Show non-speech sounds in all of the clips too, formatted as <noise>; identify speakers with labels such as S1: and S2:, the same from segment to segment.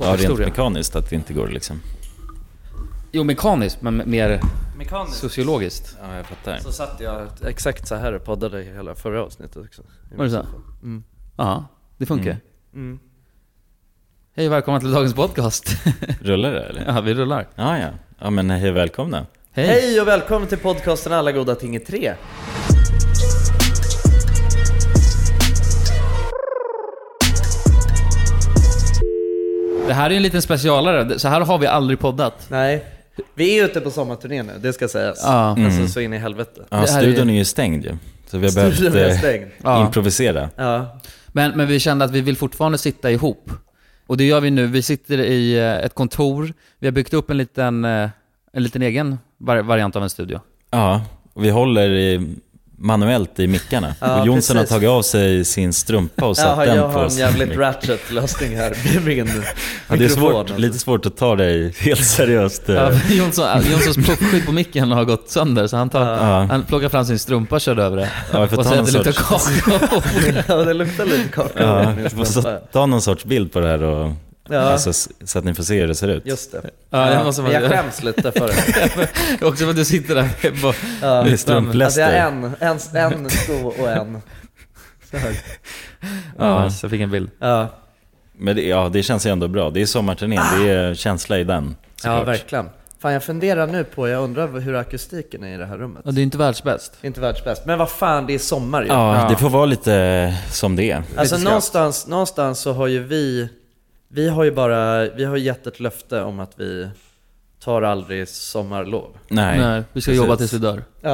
S1: Ja, rent
S2: historia.
S1: mekaniskt att det inte går liksom.
S2: Jo, mekaniskt, men mer
S3: Mekaniskt.
S2: sociologiskt.
S1: Ja, jag fattar.
S3: Så satt jag exakt så här och poddade hela förra avsnittet också. I
S2: Var det så?
S3: min soffa. Mm.
S2: Ja, det funkar.
S1: Mm.
S3: Mm.
S2: Hej och välkomna till dagens podcast.
S1: Rullar det eller?
S2: ja, vi rullar.
S1: Ja, ja. Ja, men hej och välkomna.
S2: Hej!
S3: Hej och välkommen till podcasten Alla goda ting är tre.
S2: Det här är en liten specialare. Så här har vi aldrig poddat.
S3: Nej, vi är ute på sommarturné nu, det ska sägas.
S2: Ja.
S3: Alltså så in i helvete.
S1: Mm. Ja,
S2: Det här
S1: studion
S2: är-
S1: är ju stängd ju. Så vi har
S3: Studion är
S1: behövt eh,
S3: stängd.
S2: Ja.
S1: improvisera.
S3: Ja.
S2: Men, men vi kände att vi vill fortfarande sitta ihop. Och det gör vi nu. Vi sitter i eh, ett kontor. Vi har byggt upp en liten, eh, en liten egen var- variant av en studio.
S1: Ja, och vi håller i, manuellt i mickarna.
S3: Ja,
S1: och Jonsson
S3: precis.
S1: har tagit av sig sin strumpa och satt
S3: Jaha,
S1: den
S3: jag
S1: på
S3: har en
S1: sin
S3: jävligt
S1: mick.
S3: ratchet-lösning
S1: <laughs>
S3: här med min
S1: ja, Det är
S3: mikrofon. alltså.
S1: svårt, lite svårt att ta dig helt seriöst. eh.
S2: Ja, Jonsson, Jonssons plockskydd på micken har gått sönder, så han, tar,
S1: Ja.
S2: han plockar fram sin strumpa och körde över det.
S1: Ja, jag får
S2: och
S1: ta
S2: säger
S1: någon
S2: att det luktar kakao.
S3: <laughs>
S1: <laughs>
S3: ja, det luktar lite kakao.
S1: Ja,
S3: i min
S1: jag får
S3: snabba.
S1: så- ta någon sorts bild på det här och,
S3: Ja.
S1: alltså, s- så att ni får se hur det ser ut.
S3: Just det.
S2: Ja, jag måste vara-
S3: jag skäms lite för
S2: <laughs>
S3: det.
S2: Också för att du sitter där med bara-
S3: Ja. Alltså
S1: <laughs> Det är
S3: jag har
S1: strumpläster.
S3: en, en, en sko och
S1: <laughs>
S3: en... Så här.
S2: Ja, så jag fick en bild.
S3: Ja,
S1: Men det, ja, det känns ju ändå bra. Det är sommarturnén, det är känsla i den.
S3: ja
S1: såklart.
S3: verkligen. Fan jag funderar nu på, jag undrar hur akustiken är i det här rummet.
S2: Och det är inte världsbäst.
S3: Inte världsbäst, men vad fan det är sommar ju.
S1: Ja,
S2: Ja.
S1: det får vara lite som det är.
S3: Alltså
S2: Lite skratt.
S3: någonstans, någonstans så har ju vi, vi har ju bara, vi har gett ett löfte om att vi tar aldrig sommarlov.
S1: Nej.
S2: Nej, vi ska
S3: Precis.
S2: jobba tills vi dör.
S3: Ja,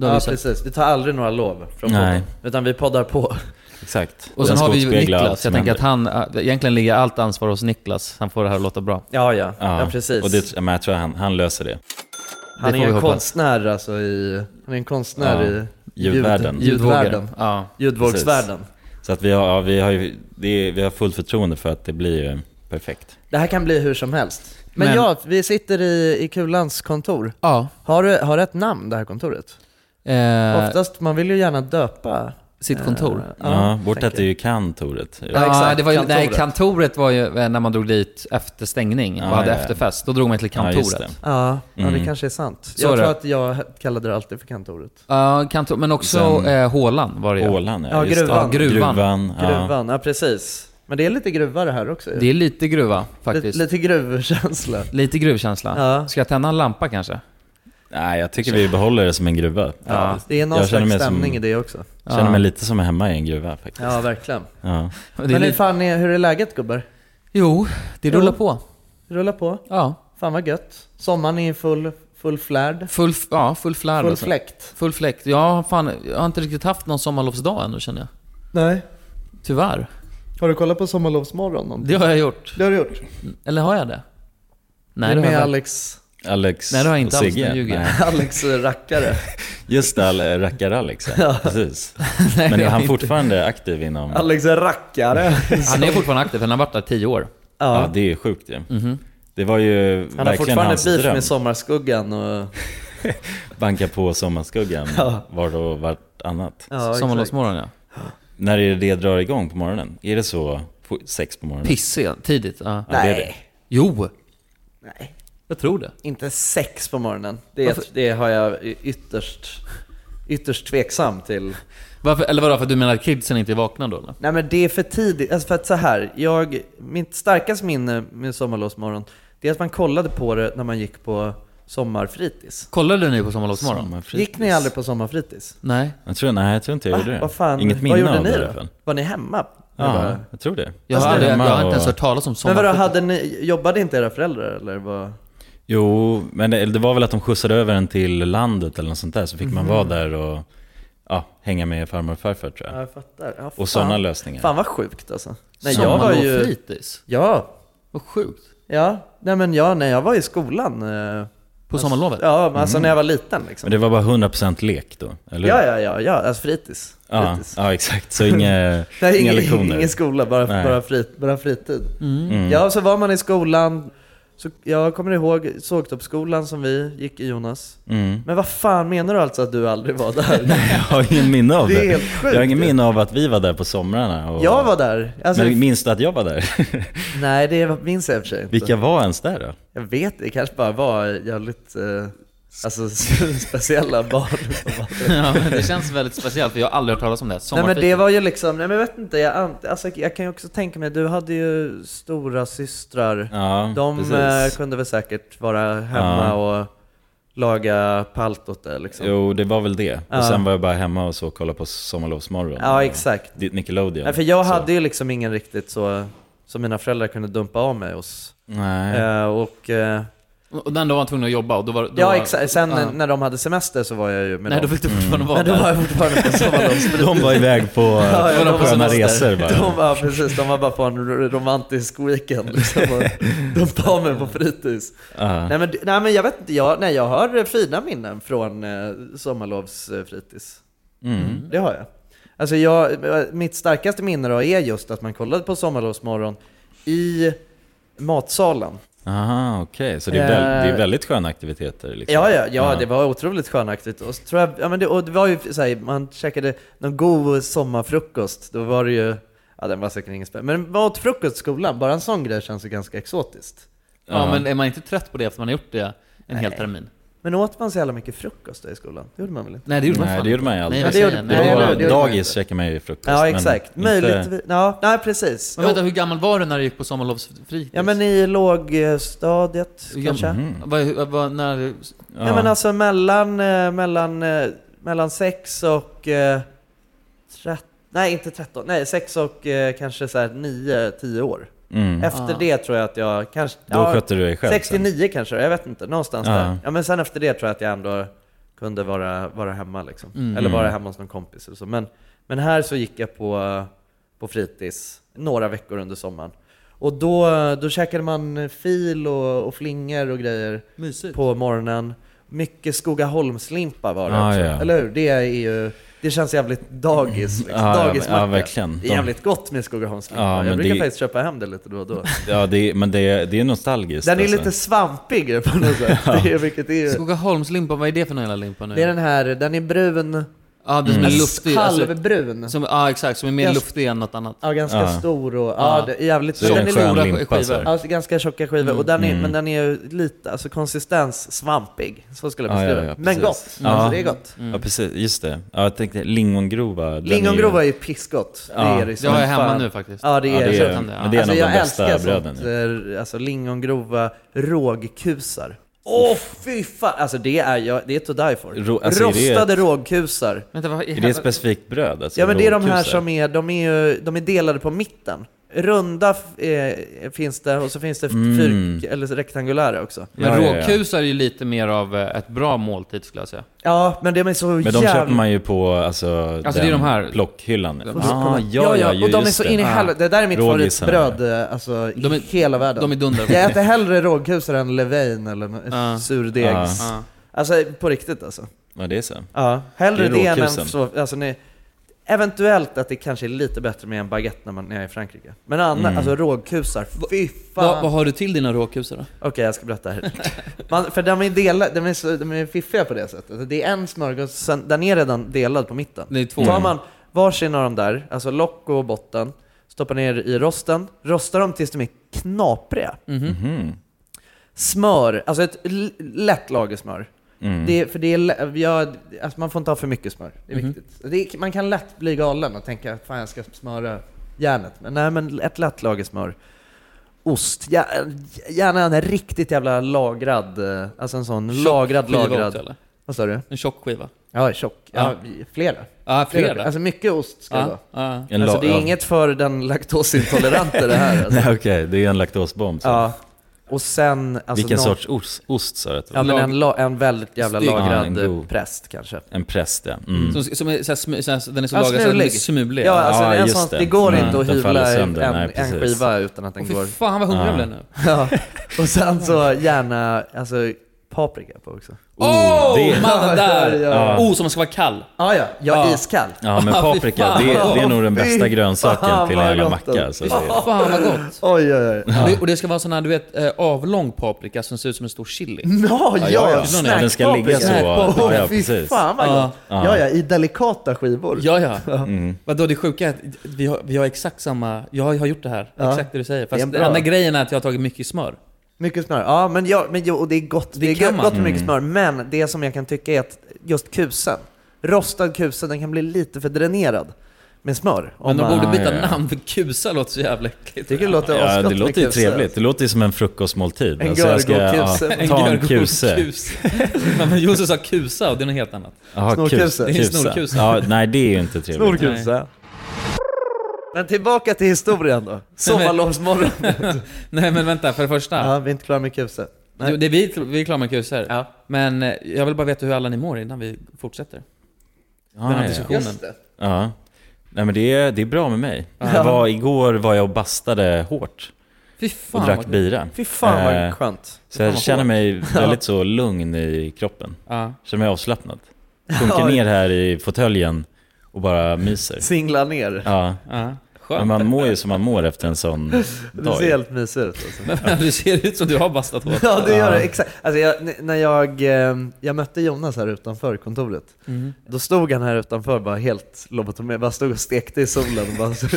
S2: Det har
S3: ja
S2: vi sagt.
S3: precis. Vi tar aldrig några lov från
S1: Nej.
S3: podden. Utan vi poddar på. <laughs>
S1: Exakt.
S2: Och sen
S1: Den
S2: har
S1: ska
S2: vi ju
S1: återspegla allt
S2: Niklas.
S1: som
S2: Jag tänker att
S1: händer.
S2: han, äh, egentligen ligger allt ansvar hos Niklas. Han får det här att låta bra.
S3: Ja, ja. Ja,
S1: Ja,
S3: precis.
S1: Och det, men jag tror han, han löser det.
S3: han
S2: det
S3: är
S2: får vi
S3: en
S2: hoppas.
S3: konstnär alltså i, han är en konstnär
S1: Ja.
S3: i
S1: Ljudvärlden.
S3: ljud- ljudvärlden.
S2: Ja.
S3: Ljudvågsvärlden.
S1: Så att vi har, ja, vi har ju, det är, vi har fullt förtroende för att det blir ju perfekt.
S3: Det här kan bli hur som helst. Men,
S2: Men-
S3: ja, vi sitter i, i Kulans kontor.
S2: Ja.
S3: Har du, har du ett namn det här kontoret?
S2: Eh,
S3: Oftast, man vill ju gärna döpa...
S2: sitt kontor.
S3: eh,
S1: Ja, bort
S3: tänker
S1: att det är ju kantoret.
S3: Ja,
S2: Ja,
S3: exakt.
S2: det var ju,
S3: Kantoret.
S2: kantoret. Nej, kantoret var ju eh, när man drog dit efter stängning och
S1: Ja,
S2: hade
S1: ja, ja.
S2: efterfest. Då drog man till
S1: Ja,
S2: kantoret.
S1: just det.
S3: Ja, ja det
S1: Mm.
S3: kanske är sant.
S2: är
S3: jag tror
S2: det.
S3: att jag kallade det alltid för kantoret.
S2: Ja, kantor, men också
S1: Sen-
S2: eh, hålan var det ju.
S1: Åland,
S3: Ja,
S1: just det.
S3: gruvan.
S2: Gruvan.
S1: Gruvan, ja.
S3: Gruvan, ja precis. Men det är lite gruva det här också ju.
S2: Det är lite gruva faktiskt.
S3: lite, lite gruvkänsla.
S2: Lite gruvkänsla.
S3: Ja.
S2: Ska jag tända en lampa kanske?
S1: Nej, jag tycker vi behåller det som en gruva.
S3: Ja, det är någon
S1: Jag känner
S3: slags
S1: mig som-
S3: stämning i det också.
S1: Jag känner mig lite som hemma i en gruva faktiskt.
S3: Ja, verkligen.
S2: Det
S1: Ja.
S2: är
S3: Men hur
S2: lite...
S3: fan är, hur är läget gubbar?
S2: Jo, det
S3: Jo.
S2: rullar på.
S3: Rulla på.
S2: Ja,
S3: Fan vad gött. Sommaren är i full, full flärd.
S2: full, f- ja, full flärd.
S3: Full
S2: alltså.
S3: fläkt.
S2: Full fläkt. Ja, fan, jag har inte riktigt haft någon sommarlovsdag ännu känner jag.
S3: Nej.
S2: Tyvärr.
S3: Har du kollat på Sommarlovsmorgon någon?
S2: Det har jag gjort.
S3: Det har du gjort?
S2: Eller har jag det? Nej,
S3: är
S2: det
S3: med
S2: har <laughs> jag inte.
S3: Alex,
S1: Alex
S2: Nej, det har jag inte
S1: och
S2: alls.
S1: Sigge.
S2: Nu ljuger jag.
S1: Nej.
S3: <laughs> Alex rackare.
S1: Just det, Al- rackar-Alex.
S2: <laughs>
S1: Ja. Precis. Men
S2: det
S1: är
S2: har
S1: han
S2: jag inte.
S1: fortfarande aktiv inom...
S3: Alex rackare.
S2: Han är fortfarande aktiv, för han har varit där tio år.
S1: Ja,
S3: Ja.
S1: det är sjukt ju.
S2: Mhm.
S1: Det var ju
S3: Han har
S1: verkligen
S3: fortfarande
S1: hans
S3: beef
S1: dröm.
S3: med Sommarskuggan och...
S1: Banka på sommarskuggan
S3: <laughs> Ja.
S1: var och vartannat.
S3: Ja,
S2: Sommarlovsmorgon ja.
S1: När är det det drar igång på morgonen? Är det så på sex på morgonen?
S2: Pissig, tidigt. Ja.
S1: Ja, det är det.
S3: Nej.
S2: Jo,
S3: Nej,
S2: jag tror det.
S3: inte sex på morgonen. Det,
S2: Varför?
S3: det har jag y- ytterst, ytterst tveksam till.
S2: Varför, eller vadå, för att du menar att kidsen inte är vakna då eller?
S3: Nej men det är för tidigt. Alltså för att så här, jag, mitt starkaste minne med Sommarlovsmorgon, det är att man kollade på det när man gick på sommarfritids.
S2: Kollade ni på Sommarlovsmorgon?
S1: Sommarfritids.
S3: Gick ni aldrig på sommarfritids?
S2: Nej,
S1: Jag tror, nej, jag tror inte jag gjorde det.
S3: Vad fan,
S1: Inget
S3: vad
S1: minne
S3: gjorde
S1: av
S3: ni
S1: det i
S3: då?
S1: alla fall.
S3: Var ni hemma?
S1: Ja, jag tror det.
S2: jag
S1: Alltså,
S2: har, aldrig, jag
S1: hemma
S2: har inte ens
S1: och-
S2: hört talas om
S3: Men
S2: sommar.
S3: vadå, hade ni, jobbade inte era föräldrar eller? Vad?
S1: Jo, men det, det var väl att de skjutsade över en till landet eller något sånt där. Så fick man vara där och ja, hänga med farmor och farfar tror jag.
S3: Mhm. Ja, jag fattar. Ja, fan.
S1: Och sådana lösningar.
S3: Fan vad sjukt alltså. Nej, jag var ju...
S2: Sommarlovsfritids?
S3: Ja,
S2: Vad sjukt.
S3: ja. Nej men jag, när jag var i skolan. eh,
S2: På sommarlovet?
S3: Ja, men alltså när jag var liten liksom.
S1: Mm. Men det var bara 100% lek då, eller
S3: Ja,
S1: hur?
S3: ja, ja, ja. Alltså fritids.
S1: ja.
S3: fritids.
S1: ja, exakt.
S3: <laughs>
S1: Så inga,
S3: Nej,
S1: inga
S3: ingen,
S1: lektioner. Mm.
S3: ingen skola, bara,
S1: Nej.
S3: Mm. bara, frit, bara fritid. Ja, så var man i skolan, Så jag kommer ihåg sågtoppsskolan som vi gick i Jonas.
S1: Mm.
S3: Men vad fan menar du alltså att du aldrig var
S1: <laughs>
S3: där?
S1: Jag har ingen minne av
S3: Det är
S1: det.
S3: helt sjukt.
S1: Jag har ingen minne av att vi var där på somrarna. Och...
S3: Jag var där. Alltså,
S1: Men minns du att jag var där?
S3: <laughs> Nej, det minns jag i och för sig inte.
S1: Vilka var ens där då?
S3: Jag vet det kanske bara var jävligt eh, alltså, <laughs> speciella barn som var
S4: <laughs>
S3: där.
S4: ja, men det känns väldigt speciellt för jag har aldrig hört talas om det.
S3: Nej men
S4: Sommarfritid.
S3: det var ju liksom, nej men jag vet inte, jag, an- alltså, jag kan ju också tänka mig, du hade ju stora systrar
S1: Ja,
S3: De
S1: Mm, precis.
S3: eh, kunde väl säkert vara hemma och laga palt åt det liksom.
S1: Jo, det var väl det.
S3: Ja.
S1: Och sen var jag bara hemma och så och kollade på Sommarlovsmorgon.
S3: Ja, exakt.
S1: Ditt Nickelodeon.
S3: Nej, för jag
S1: Så-
S3: hade ju liksom ingen riktigt så, som mina föräldrar kunde dumpa av mig hos.
S1: Nej. <laughs>
S3: Eh, och, eh,
S4: Och den dagen var han tvungen att jobba och då var... Då
S3: ja,
S4: var...
S3: exakt. Sen
S4: Ja.
S3: när de hade semester så var jag ju med
S4: Nej, då
S3: dem.
S4: fick du
S1: Mm.
S4: fortfarande vara
S3: Men då
S4: där.
S3: var jag fortfarande på sommarlovsfritid.
S1: De var iväg
S4: <laughs>
S3: <laughs>
S1: på
S3: Ja, ja,
S1: sköna
S3: de var
S4: semester.
S1: resor bara.
S3: De var, precis, de var bara på en r- romantisk weekend liksom, <laughs> och dumpade av mig på fritids.
S1: Ja.
S3: Nej men, nej men jag vet inte, jag, nej, jag har fina minnen från eh, sommarlovsfritids.
S1: Mm.
S3: Det har jag. Alltså jag, mitt starkaste minne då är just att man kollade på Sommarlovsmorgon i matsalen.
S1: Aha, okej. Så det är, väl,
S3: Eh.
S1: det är väldigt sköna aktiviteter. Liksom.
S3: Ja, ja, ja, det var otroligt skönaktigt. Och, så tror jag, ja, men det, och det var ju så här, man käkade någon god sommarfrukost. Då var det ju, ja den var säkert ingen spänn. Men matfrukost i skolan, bara en sån grej känns ju ganska exotiskt.
S4: <laughs> Ja, men är man inte trött på det efter man har gjort det en hel termin?
S3: Men åt man så jävla mycket frukost då i skolan? Det gjorde man väl inte?
S4: Nej, det gjorde man
S1: Nej,
S4: fan
S1: det gjorde
S4: inte.
S1: man ju aldrig.
S4: Nej, vad
S3: Ja, det
S4: säger
S1: Det
S3: Nej,
S4: jag?
S1: var,
S3: det gjorde- det gjorde man
S1: dagis
S3: inte.
S1: käkade man ju frukost.
S3: Ja,
S1: men
S3: exakt.
S1: inte-
S3: Möjligtvis. Ja, nej, precis.
S4: Men vänta, hur gammal var du när du gick på sommarlovsfritids?
S3: Ja, men i lågstadiet
S4: Hur gammal-
S3: kanske.
S1: Mm.
S4: Vad, hur- vad, när,
S1: Ja.
S3: Ja men alltså mellan, eh, mellan, eh, mellan 6 och... Eh, 13, nej inte 13, nej 6 och eh, kanske så här 9, 10 år.
S1: mm.
S3: Efter
S4: Ah.
S3: det tror jag att jag kanske...
S1: Då skötte du dig själv
S3: 69 kanske, jag vet inte. Någonstans
S1: Ja.
S3: där. Ja men sen efter det tror jag att jag ändå kunde vara, vara hemma liksom.
S4: Mm.
S3: Eller vara hemma hos någon kompis eller så. Men, men här så gick jag på, på fritids några veckor under sommaren. Och då, då käkade man fil och, och flingor och grejer
S4: mysigt.
S3: på morgonen. Mycket Skogaholmslimpa var det
S1: Ah,
S3: också.
S1: ja.
S3: Eller hur? Det är ju... Det känns jävligt dagis. Liksom.
S1: Mm. Ja, ja,
S3: Dagismacka.
S1: ja, verkligen.
S3: Det är jävligt gott med Skogaholmslimpa.
S1: Ja,
S3: jag
S1: men
S3: brukar
S1: det-
S3: faktiskt köpa hem det lite då och då.
S1: <laughs> Ja, det, är- men det, är- det är nostalgiskt.
S3: Den är
S1: alltså.
S3: lite svampig på något
S1: <laughs>
S3: sätt. Det är, vilket är, ju-
S4: Skogaholmslimpa, vad är det för någon jävla limpa nu?
S3: det är den här, den är
S1: Mm.
S3: brun.
S4: Ja, det som är luftig. Alltså,
S3: Halvbrun.
S4: som, ja, exakt. Som är mer
S3: Yes.
S4: luftig än något annat.
S3: Ja, ganska
S1: Ja.
S3: stor och ja,
S4: Ja.
S3: det är jävligt
S1: Så det är
S3: den
S1: en
S3: är
S1: skön
S4: stora
S1: limpa. Så
S4: skivor.
S1: här.
S3: Alltså ganska tjocka skivor, och den är,
S1: Mm.
S3: men den är ju lite, alltså konsistens svampig. Så skulle jag
S1: Ja, ja,
S3: beskriva
S1: ja,
S3: det. Men
S1: precis.
S3: gott.
S1: Ja.
S3: Alltså det är gott.
S1: Mm. Ja, precis. Just det. Ja, jag tänkte lingongrova. den är ju-
S3: Lingongrova är ju pissgott. Det,
S1: Ja.
S3: är det,
S4: Det
S3: som
S4: har jag hemma
S3: fan.
S4: nu faktiskt.
S3: Ja, det är,
S1: Ja, det är,
S4: jag-
S1: men det är en
S3: alltså,
S1: av
S3: jag
S1: de bästa
S3: älskar
S1: bröden.
S3: sånt,
S1: ju.
S3: eh, alltså lingongrova rågkusar. Åh fy fan! Alltså det är, jag, det är to die for.
S1: Rå- alltså, är det-
S3: Rostade rågkusar.
S4: Vänta, vad
S1: Är det ett specifikt bröd? Alltså,
S3: Ja men det är de här
S1: råkusar?
S3: som är, de är ju, de är delade på mitten. Runda f- eh, finns det, och så finns det
S1: Mm.
S3: fyrk, eller rektangulära också.
S4: Men
S1: Ja, ja, ja.
S4: råkusar är ju lite mer av eh, ett bra måltid skulle jag säga.
S3: Ja, men de är så
S1: Men de
S3: jävla...
S1: köper man ju på alltså,
S4: Alltså, det är de här-
S1: plockhyllan.
S4: De-
S1: Ah, ja, ja, ju
S3: och de är
S1: just
S3: så
S1: det. Ah,
S3: in i helvete. Det där är mitt
S1: Rågisen.
S3: favoritbröd eh, alltså, i
S4: De är-
S3: hela världen.
S4: De är dunder.
S3: <laughs> Jag äter hellre rågkusar än levain eller
S4: Ja.
S3: uh. surdegs.
S1: Ja.
S4: Ja.
S3: Alltså på riktigt alltså.
S1: Ja, det är så.
S3: Ja, hellre
S1: Ah. Det
S3: det,
S1: är
S3: än en
S1: råkusen.
S3: så, alltså, nej, Eventuellt att det kanske är lite bättre med en baguette när man är i Frankrike. Men annars,
S1: Mm.
S3: alltså rågkusar, fy
S4: Vad,
S3: fan!
S4: vad har du till dina råkusar då?
S3: Okej, jag ska berätta här. Man, för de är, dela, de, är så, de är fiffiga på det sättet. Alltså, Det är en smörgås, sen, den är redan delad på mitten.
S4: Det är två.
S3: Tar man varsin av dem där, alltså lock och botten, stoppar ner i rosten, rostar dem tills de är knapriga.
S4: Mhm.
S1: Mhm.
S3: Smör, alltså ett l- lätt lager smör.
S1: Mm. Mm-hmm.
S3: Det, är- för det är, lä- jag, alltså man får inte ha för mycket smör, det är viktigt. Det är, man kan lätt bli galen och tänka att fan jag ska smöra järnet. Men nej, men ett lätt lager smör. Ost, ja, gärna en riktigt jävla lagrad, eh, alltså en sån
S4: Tjock
S3: lagrad,
S4: skiva också,
S3: lagrad.
S4: eller?
S3: Vad sa du?
S4: En tjock skiva?
S3: Ja, tjock. Ja,
S4: Ja.
S3: flera.
S4: Ja, flera.
S3: Alltså mycket ost ska det vara.
S4: ja, ja.
S1: En
S3: Alltså
S1: la-
S3: det är
S1: ja.
S3: inget för den laktosintolerante det här. Alltså.
S1: <laughs> Nej, Okej, det är en laktosbomb. Så.
S3: Ja. Och sen... Alltså
S1: Vilken
S3: någon-
S1: sorts ost, ost sa du att det var?
S3: Ja, men
S4: Lag-
S3: en, la, en väldigt jävla
S4: Stygg.
S1: Ja,
S3: lagrad
S1: en
S3: ja,
S1: god.
S3: präst kanske.
S1: En präst, ja. Mm.
S4: Som, som är, så här, smu, så här, den är så
S3: Ja,
S4: lagad så att den är
S3: smulig.
S4: smulig.
S3: Ja, alltså
S1: Ja,
S3: det, är en
S1: just
S3: sån,
S1: det.
S3: det går
S1: Mm,
S3: inte att
S1: den
S3: hyvla
S1: faller sönder.
S3: en,
S1: Nej,
S3: en
S1: precis.
S3: skiva utan att den
S4: Åh, fy
S3: går...
S4: fan vad hungrig jag
S1: Ja.
S4: blev nu.
S3: Ja. Och sen så gärna alltså, paprika på också.
S1: Oh, det-
S2: man, den där!
S3: Ja.
S2: Oh, som ska vara kall.
S3: Ah, ja, ja,
S2: Ja.
S3: iskall.
S1: Ja
S3: <laughs>
S1: men
S2: Ah, fy
S1: paprika,
S2: fan.
S1: det, det är nog den
S3: Fy
S1: bästa grönsaken
S3: fan,
S1: till en
S3: vad
S1: jävla
S3: gott den.
S1: macka. Så det,
S2: Oh, fan vad gott.
S3: Oj, oj, oj.
S2: Och det- Och det ska vara sån här, du vet, eh, avlång paprika som ser ut som en stor chili.
S3: Ja, <laughs> ja,
S1: ja,
S3: ja.
S1: ja. Den ska ligga så.
S3: Snackpaprika.
S1: Ja, ja,
S3: Åh, Fy
S1: precis.
S3: fan vad
S2: Ja.
S3: gott. Ja, ja, i delikata skivor.
S2: Ja, ja. Vadå, det sjuka är att vi har, vi har exakt samma... Jag har, jag har gjort det här,
S3: Ja.
S2: exakt det du säger.
S3: Det är
S2: Fast
S3: en bra.
S2: den enda grejen är att jag har tagit mycket smör.
S3: Mycket smör. Ja, men, ja, men jo, och det är gott. Det, är
S2: kan
S3: gott
S2: man.
S3: med
S1: Mm.
S3: mycket smör. Men det som jag kan tycka är att just kusen, rostad kusen, den kan bli lite för dränerad med smör. Om
S2: Men de
S3: man-
S2: borde
S1: Ah,
S2: byta
S1: ja, ja.
S2: namn, för kusa låter så jävla äckligt.
S3: tycker det låter
S1: ja,
S3: asgott
S1: det
S3: med
S1: låter ju
S3: kuse.
S1: trevligt. Det låter ju som en frukostmåltid.
S3: En
S1: Alltså, jag ska-
S3: görgokuse.
S1: ja, Ta en
S2: görgod
S1: kuse.
S2: kus. Ja, <laughs> men Jonsson sa kusa och det är något helt annat.
S1: Jaha,
S3: Snorkuse.
S1: kus-
S3: Det
S2: är
S1: kusa.
S2: snorkuse.
S1: Ja, nej, det är ju inte trevligt.
S3: Snorkuse. Men tillbaka till historien <laughs> då. Sommarlovsmorgon.
S2: Nej men vänta, för det första.
S3: Ja, vi är inte klara med kuse. Nej.
S2: Du, det är vi, vi är klara med kusar.
S3: Ja.
S2: Men eh, jag vill bara veta hur alla ni mår innan vi fortsätter. Den här
S1: Ja, ja.
S2: diskussionen.
S3: Just det.
S1: ja. Nej, men det är, det är bra med mig. Jag var, igår var jag och bastade hårt
S2: Fy
S1: och
S2: fan
S1: drack
S2: vad-
S1: bira.
S3: Fy fan
S1: Eh,
S3: vad skönt.
S1: Så
S2: Fan
S1: jag
S2: vad
S1: känner
S2: hårt.
S1: mig väldigt så lugn i kroppen.
S2: Ja.
S1: Känner mig avslappnad. Sjunker
S3: <laughs> Ja.
S1: ner här i fåtöljen och bara myser.
S3: Singla ner.
S1: Ja.
S2: Ja,
S1: Men
S2: skönt.
S1: man mår ju som man mår efter en sån
S3: <laughs> Det
S1: dag.
S3: ser helt mysigt ut.
S2: <laughs>
S3: Alltså.
S2: Men du ser ut som du har bastat hårt.
S3: Ja, det gör det. Exakt. Alltså, jag, n- när jag, eh, jag mötte Jonas här utanför kontoret,
S2: Mm.
S3: då stod han här utanför bara helt lobotomerad, bara stod och stekte i solen. och Bara, så,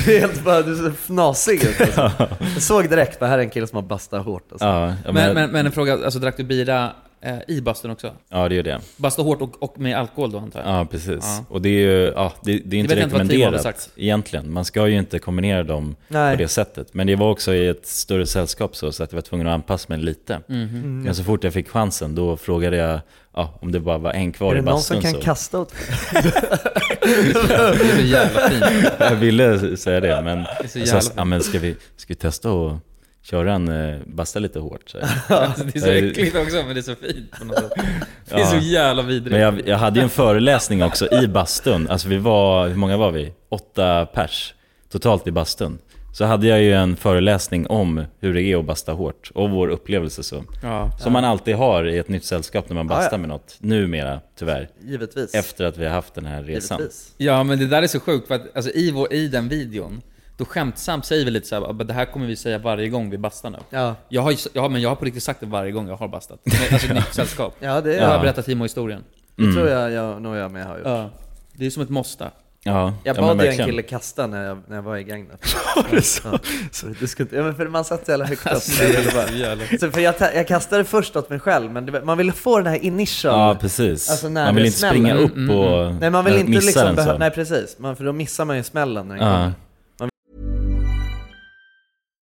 S3: så helt bara, du ser fnasig ut. Alltså. Jag såg direkt, bara, här är en kille som har bastat hårt. Alltså.
S1: Ja, ja,
S2: Men, men, men en fråga, alltså drack du bira eh, i bastun också?
S1: ja, det är det.
S2: Basta hårt och, och med alkohol då antar jag?
S1: Ja, precis.
S2: Ja.
S1: Och det är ju ja, det, det är inte
S2: vet jag inte vad Tim hade
S1: rekommenderat
S2: sagt.
S1: egentligen. Man ska ju inte kombinera dem på
S3: Nej.
S1: det sättet. Men det var också i ett större sällskap så, så att jag var tvungen att anpassa mig lite.
S3: Mm.
S2: Mhm.
S1: Men så fort jag fick chansen då frågade jag ja, om det bara var en
S3: Är
S1: kvar
S3: det
S1: i
S3: någon som
S1: bastun.
S3: kan
S1: så.
S3: kasta åt mig?
S2: Det <laughs> är så jävla fint.
S1: <laughs> Jag ville säga det, men,
S2: Det är så
S1: jag
S2: jävla
S1: sa, Alltså, ja, men ska, vi, ska vi testa och köra en eh, basta lite hårt? Så. här.
S2: Alltså, <laughs> det är så
S1: Nej, det-
S2: äckligt också, men det är så fint på något sätt. Det
S1: Ja.
S2: är så jävla vidrigt.
S1: Men jag, jag hade ju en föreläsning också i bastun. Alltså vi var, hur många var vi? Åtta pers totalt i bastun. Så hade jag ju en föreläsning om hur det är att basta hårt och vår upplevelse så.
S2: Ja.
S1: Som man alltid har i ett nytt sällskap när man
S3: Ja,
S1: bastar
S3: ja.
S1: med något. Numera, tyvärr.
S3: Givetvis.
S1: Efter att vi har haft den här resan.
S3: Givetvis.
S2: ja, men det där är så sjukt för att alltså, i, vår, i den videon, då skämtsamt säger vi lite så här, "Ah, det här kommer vi säga varje gång vi bastar nu.
S3: Ja.
S2: Jag har, ju- ja, men jag har på riktigt sagt det varje gång jag har
S1: <laughs>
S2: bastat. Men, Alltså ett nytt sällskap.
S3: ja, det,
S2: Jag har
S1: Ja. Mm.
S2: berättat Timo-historien.
S3: det tror jag, jag nog jag med har gjort.
S2: Ja. Det är som ett måste.
S1: Ja,
S3: Jag
S1: ja, men
S3: bad ju en
S1: verkligen.
S3: kille kasta när jag, när jag var i Gagnef. Ja, så det skulle inte- ja, men för man satt så jävla högt upp.
S2: <laughs> Alltså, det är så jävla-
S3: <laughs> Så för jag, ta- jag kastade först åt mig själv, men det, man vill få den här initial...
S1: Ja, precis.
S3: Alltså, när
S1: man vill
S3: det
S1: inte
S3: smäller.
S1: springa
S3: Mm,
S1: upp och
S3: nej, man vill
S1: eh,
S3: inte
S1: missa
S3: liksom...
S1: den
S3: behö-
S1: så.
S3: nej, precis. Man, för då missar man ju smällen när den
S1: Ja.
S3: kommer.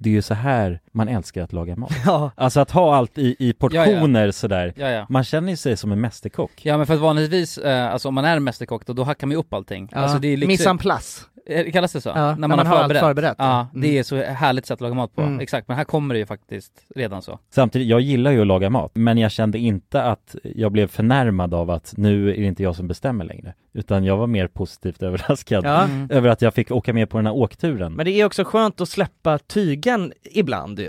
S1: det är ju så här man älskar att laga mat.
S5: Ja.
S1: Alltså att ha allt i, i
S2: ja.
S1: portioner sådär.
S2: Ja, ja.
S1: Man känner ju sig som en mästerkock.
S2: Ja men för att vanligtvis, eh, alltså om man är mästerkock då, då hackar man ju upp allting. Alltså det är lyxigt.
S5: Missan plats.
S2: Eh, Kallas det så?
S5: Ja, när man har allt förberett.
S2: Ja,
S5: Mm.
S2: det är så härligt sätt att laga mat på.
S5: Mm.
S2: Exakt, men här kommer det ju faktiskt redan så.
S1: Samtidigt, jag gillar ju att laga mat, men jag kände inte att jag blev förnärmad av att nu är det inte jag som bestämmer längre. Utan jag var mer positivt <laughs> överraskad
S5: Ja.
S2: Mm.
S1: över att jag fick åka med på den här åkturen.
S5: Men det är också skönt att släppa tygen ibland ju.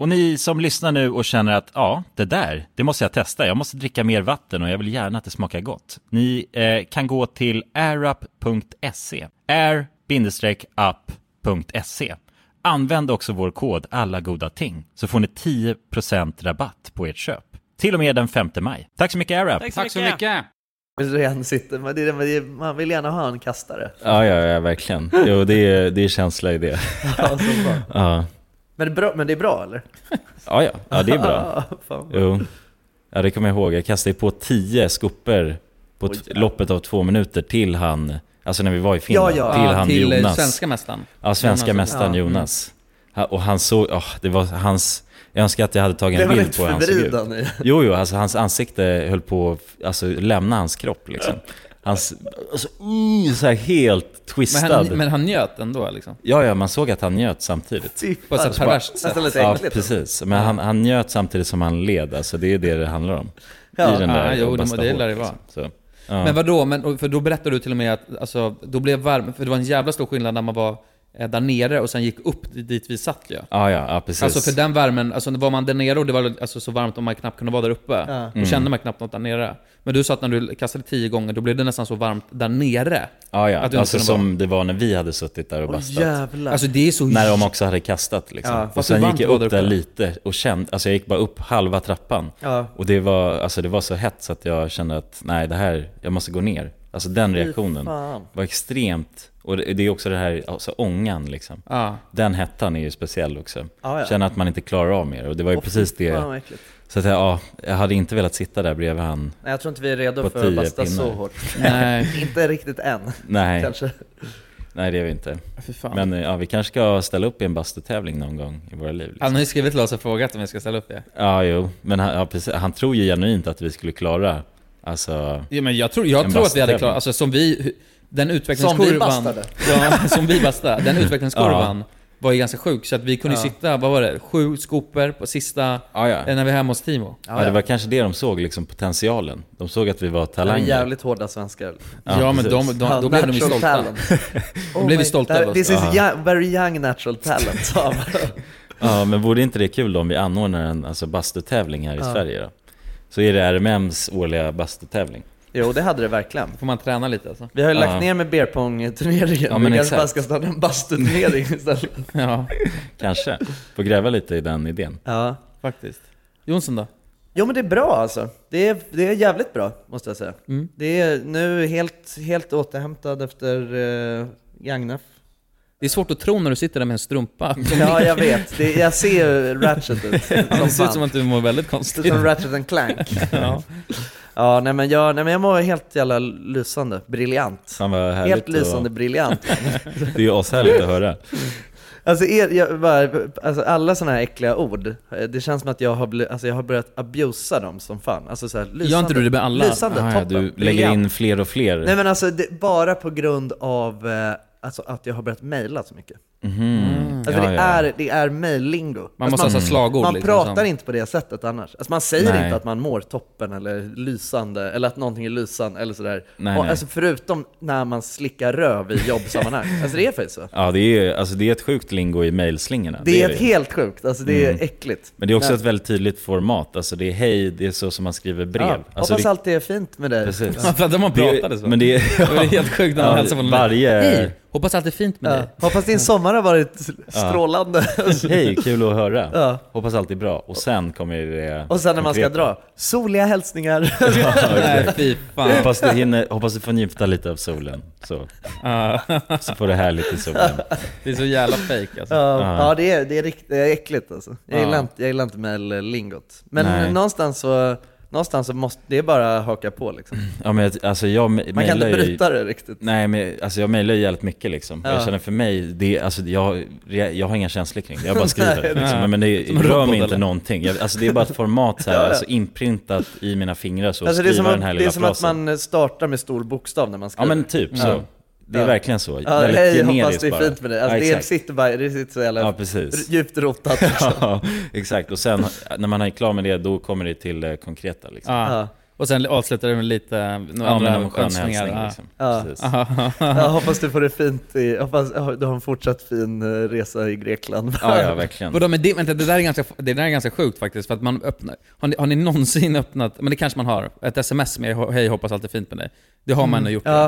S6: Och ni som lyssnar nu och känner att ja, det där, det måste jag testa. Jag måste dricka mer vatten och jag vill gärna att det smakar gott. Ni eh, kan gå till airup.se. air-up.se. Använd också vår kod alla goda ting så får ni 10% rabatt på ert köp. Till och med den 5 maj. Tack så mycket AirUp.
S7: Tack så mycket!
S8: Ren sitter, man, det är, det är- man vill gärna ha en kastare.
S6: Ja, ja, ja, verkligen. Jo, det är, det är känsla i det.
S8: Ja, så bra.
S6: Ja,
S8: Men, det är bra, men det är bra eller?
S6: ja, ja, ja det är bra.
S8: Ja, fan.
S6: Jo. Ja, det kommer jag ihåg. Jag kastade på tio skopor på t- loppet av två minuter till han, alltså när vi var i Finland,
S8: Ja, ja.
S6: till han
S2: till eh,
S6: Jonas.
S2: svenska mästaren.
S6: ja, svenska
S2: Jonas.
S6: mästaren
S8: Ja.
S6: Jonas. Ha- Och han såg, oh, det var hans, jag önskar att jag hade tagit
S8: Det
S6: en
S8: var
S6: bild
S8: lite
S6: på hur han såg ut.
S8: förvridan i.
S6: Jo, jo, alltså hans ansikte höll på att alltså, lämna hans kropp liksom. Hans, alltså, mm, så här helt
S2: Men
S6: twistad.
S2: han, men han njöt ändå liksom.
S6: Ja, ja, man såg att han njöt samtidigt.
S8: Fy
S2: På ett
S8: fan.
S2: så här perverst sätt.
S8: Nästan lite
S6: Ja,
S8: äckligt.
S6: precis. Men han, han njöt samtidigt som han led, alltså det är det det handlar om. I den
S2: ja, ah,
S6: där
S2: jo, det-
S6: bästa
S2: det lär
S6: hårt,
S2: det vara.
S6: liksom. Så.
S1: Ja.
S2: Men vadå, men, och- för då berättade du till och med att alltså, då blev varm, för det var en jävla stor skillnad när man var eh, där nere och sen gick upp dit vi satt ju.
S1: Ja, ah, ja, ja, precis.
S2: Alltså för den värmen, alltså var man där nere och det var alltså, så varmt om man knappt kunde vara där uppe, då
S1: Mm.
S2: kände man knappt något där nere. Men du sa att när du kastade tio gånger, då blev det nästan så varmt där nere.
S1: ja, ja.
S2: att du inte
S1: Alltså
S2: kunde
S1: som det var när vi hade suttit där och
S3: Åh
S1: bastat.
S3: jävlar.
S2: Alltså det är så...
S1: När de också hade kastat liksom.
S3: Ja,
S1: och
S2: fast hur
S1: sen
S2: varmt
S1: gick jag
S2: var
S1: upp
S2: det
S1: där
S2: uppe?
S1: lite och kände, alltså jag gick bara upp halva trappan.
S3: ja.
S1: Och det var, alltså det var så hett så att jag kände att nej det här, jag måste gå ner. Alltså den reaktionen
S3: fan.
S1: var extremt, och det, det är också det här, alltså ångan liksom.
S2: Ja.
S1: Den hettan är ju speciell också.
S3: Ja, ja.
S1: Känna att man inte klarar av mer och det var ju
S3: Åh,
S1: precis
S3: fy Fan
S1: det.
S3: vad äckligt.
S1: Så att jag, ja, jag hade inte velat sitta där bredvid han.
S3: Nej, jag tror inte vi är redo
S1: På
S3: för att
S1: tio
S3: basta så
S1: pinnar.
S3: hårt.
S2: Nej, <laughs>
S3: inte riktigt än,
S1: Nej,
S3: kanske.
S1: nej det är vi inte.
S2: för fan.
S1: Men ja, vi kanske ska ställa upp i en bastutävling någon gång i våra liv. Liksom.
S2: Han har ju skrivit till oss och frågat om vi ska ställa upp det.
S1: Ja, jo. Men han, ja, precis. han tror ju genuint att vi skulle klara, alltså...
S2: Ja, men jag tror, jag
S1: En
S2: tror att vi hade
S1: bastutävling.
S2: klarat, alltså som vi, den
S3: Som vi
S2: utvecklingskurvan...
S3: bastade.
S2: <laughs> Ja, som vi bastade.
S1: <laughs>
S2: Den utvecklingskurvan var ju ganska sjuk, så att vi kunde ju sitta, vad var det, sju skopor på sista,
S1: Ja, ja.
S2: eh, när vi var hemma hos Timo.
S1: Ja, det var kanske det de såg, liksom potentialen. De såg att vi var
S3: Det var
S1: talanger.
S3: jävligt hårda svenskar.
S2: Ja,
S1: Ja,
S2: men de,
S1: precis.
S2: de, de, då blev de ju
S3: Natural
S2: stolta.
S3: talent. Oh
S2: De blev ju stolta
S3: That-
S2: över oss.
S3: This is young, very young natural talent, sa han.
S1: Ja, men vore inte det kul då om vi anordnar en alltså, bastutävling här i Sverige då? Så är det RMMs årliga bastutävling.
S3: Jo, det hade det verkligen.
S2: Får man träna lite alltså?
S3: Vi har ju
S1: Ja.
S3: lagt ner med beerpong-turneringen.
S1: Ja, men
S3: vi kanske
S1: exakt.
S3: bara ska starta en bastuturnering istället.
S2: Ja,
S1: Kanske. Får gräva lite i den idén.
S3: Ja.
S2: faktiskt. Jonsson då?
S3: Jo men det är bra alltså. Det är, det är jävligt bra, måste jag säga.
S2: Mm.
S3: Det är nu helt, helt återhämtad efter uh, Gagnef.
S2: Det är svårt att tro när du sitter där med en
S3: <laughs>
S2: strumpa.
S3: Ja, jag vet. Det, jag ser ju Ratchet ut.
S2: Det ser ut som
S3: fan.
S2: att du mår väldigt
S3: Det
S2: konstigt.
S3: ser ut som Ratchet and Clank.
S2: Ja.
S3: Ja, nej men jag, nej, men jag mår helt jävla lysande. Briljant.
S1: Fan vad härligt
S3: Helt lysande
S1: att-
S3: briljant.
S1: Det är ju ashärligt att höra.
S3: Alltså, er, jag, bara, alltså alla sådana här äckliga ord, eh, det känns som att jag har, bli, alltså, jag har börjat abusa dem som fan. Alltså så här, lysande.
S2: Gör inte du det med alla?
S3: Lysande,
S1: Ah, ja,
S3: toppen.
S1: du lägger
S3: briljant.
S1: in fler och fler.
S3: Nej men alltså, det, bara på grund av eh, alltså, att jag har börjat mejla så mycket.
S1: Mhm.
S3: Alltså
S1: Ja,
S3: det,
S1: ja.
S3: är, det är mejllingo.
S2: Man måste alltså ha slagord
S3: Man
S2: liksom,
S3: pratar
S2: som-
S3: inte på det sättet annars. Alltså man säger
S1: Nej.
S3: inte att man mår toppen eller lysande, eller att någonting är lysande eller sådär.
S1: Nej,
S3: och,
S1: nej.
S3: Alltså förutom när man slickar röv i jobbsammanhang.
S2: <laughs>
S3: alltså det är faktiskt så.
S1: Ja, det är, alltså, det är ett sjukt lingo i mejlslingorna.
S3: Det är
S1: ju.
S3: helt sjukt, alltså det
S1: Mm.
S3: är äckligt.
S1: Men det är också
S3: Nej.
S1: ett väldigt tydligt format. Alltså det är hej, det är så som man skriver brev.
S3: Ja,
S1: alltså,
S3: hoppas
S1: det,
S3: allt är fint med dig.
S1: Precis.
S2: Ja, <laughs> för att man pratade så.
S1: Men det är...
S2: <laughs> Det var helt sjukt när man
S1: Ja,
S2: hälsade på någon.
S1: varje-
S2: Hej! Hoppas allt är fint med
S3: Ja. <laughs>
S2: dig.
S3: Hoppas din sommar har varit strålande. <laughs>
S1: Hej, kul att höra.
S3: Ja.
S1: Hoppas allt är bra. Och sen kommer ju det
S3: Och sen när man ska
S1: konkreta. <laughs>
S3: dra, soliga hälsningar. <laughs>
S2: Nej, fy fan.
S1: Hoppas du, hinner, hoppas du får njuta lite av solen. Så,
S2: Ja,
S1: så får du härligt i solen.
S2: det är så jävla fake alltså.
S3: Ja, ja det, är, det, är rikt, det är äckligt alltså. Jag,
S2: Ja.
S3: gillar inte, jag gillar inte mail-lingot. Men
S1: Nej.
S3: någonstans så, någonstans så måste, det är bara att haka på liksom.
S1: Ja, men, jag- alltså, jag me-
S3: Man kan inte
S1: mejlar ju-
S3: bryta det riktigt.
S1: Nej men alltså jag mejlar ju jävligt mycket liksom.
S3: Ja.
S1: Jag känner för mig, det, är- alltså, jag, jag har inga känslor kring det. Jag
S3: <laughs>
S1: bara
S3: Nej,
S1: skriver.
S3: det-
S1: liksom. Men- Men det
S2: en
S1: rör
S2: robot,
S1: mig inte
S2: eller?
S1: någonting. Jag, alltså, det är bara ett format så
S3: <laughs>
S1: här,
S3: Ja, ja.
S1: alltså, inprintat i mina fingrar så
S3: Alltså, det är
S1: skriva
S3: som,
S1: den här
S3: att, det
S1: lilla
S3: är som att
S1: frasen.
S3: man startar med stor bokstav när man
S1: Ja
S3: skriver.
S1: men typ så. Det är
S3: Ja.
S1: verkligen så.
S3: Ja,
S1: Väldigt
S3: hej, hoppas
S1: generiskt
S3: det är
S1: bara.
S3: fint med dig. Alltså,
S1: Ja,
S3: det,
S1: exakt.
S3: sitter bara, det sitter så jävla <laughs>
S1: Ja precis.
S3: djupt rotat. Liksom.
S1: Ja, <laughs> exakt. Och sen när man är klar med det, då kommer det till eh, konkreta liksom.
S2: Ja.
S3: Ja.
S2: Och sen avslutar du med lite eh, några
S1: Ja,
S2: andra
S1: men en skön
S2: önskningar.
S1: hälsning
S2: Ja.
S1: liksom.
S3: Ja.
S1: Precis.
S3: Ja, hoppas du får det fint, i, hoppas ja, du har en fortsatt fin eh, resa i Grekland.
S1: Ja, ja, verkligen.
S2: Vadå, men det, vänta, det, där är ganska, det där är ganska sjukt faktiskt. För att man öppnar, har, ni, har ni någonsin öppnat, men det kanske man har, ett sms med hej hoppas allt är fint med dig. Det har man nog gjort.
S3: <laughs> Mm.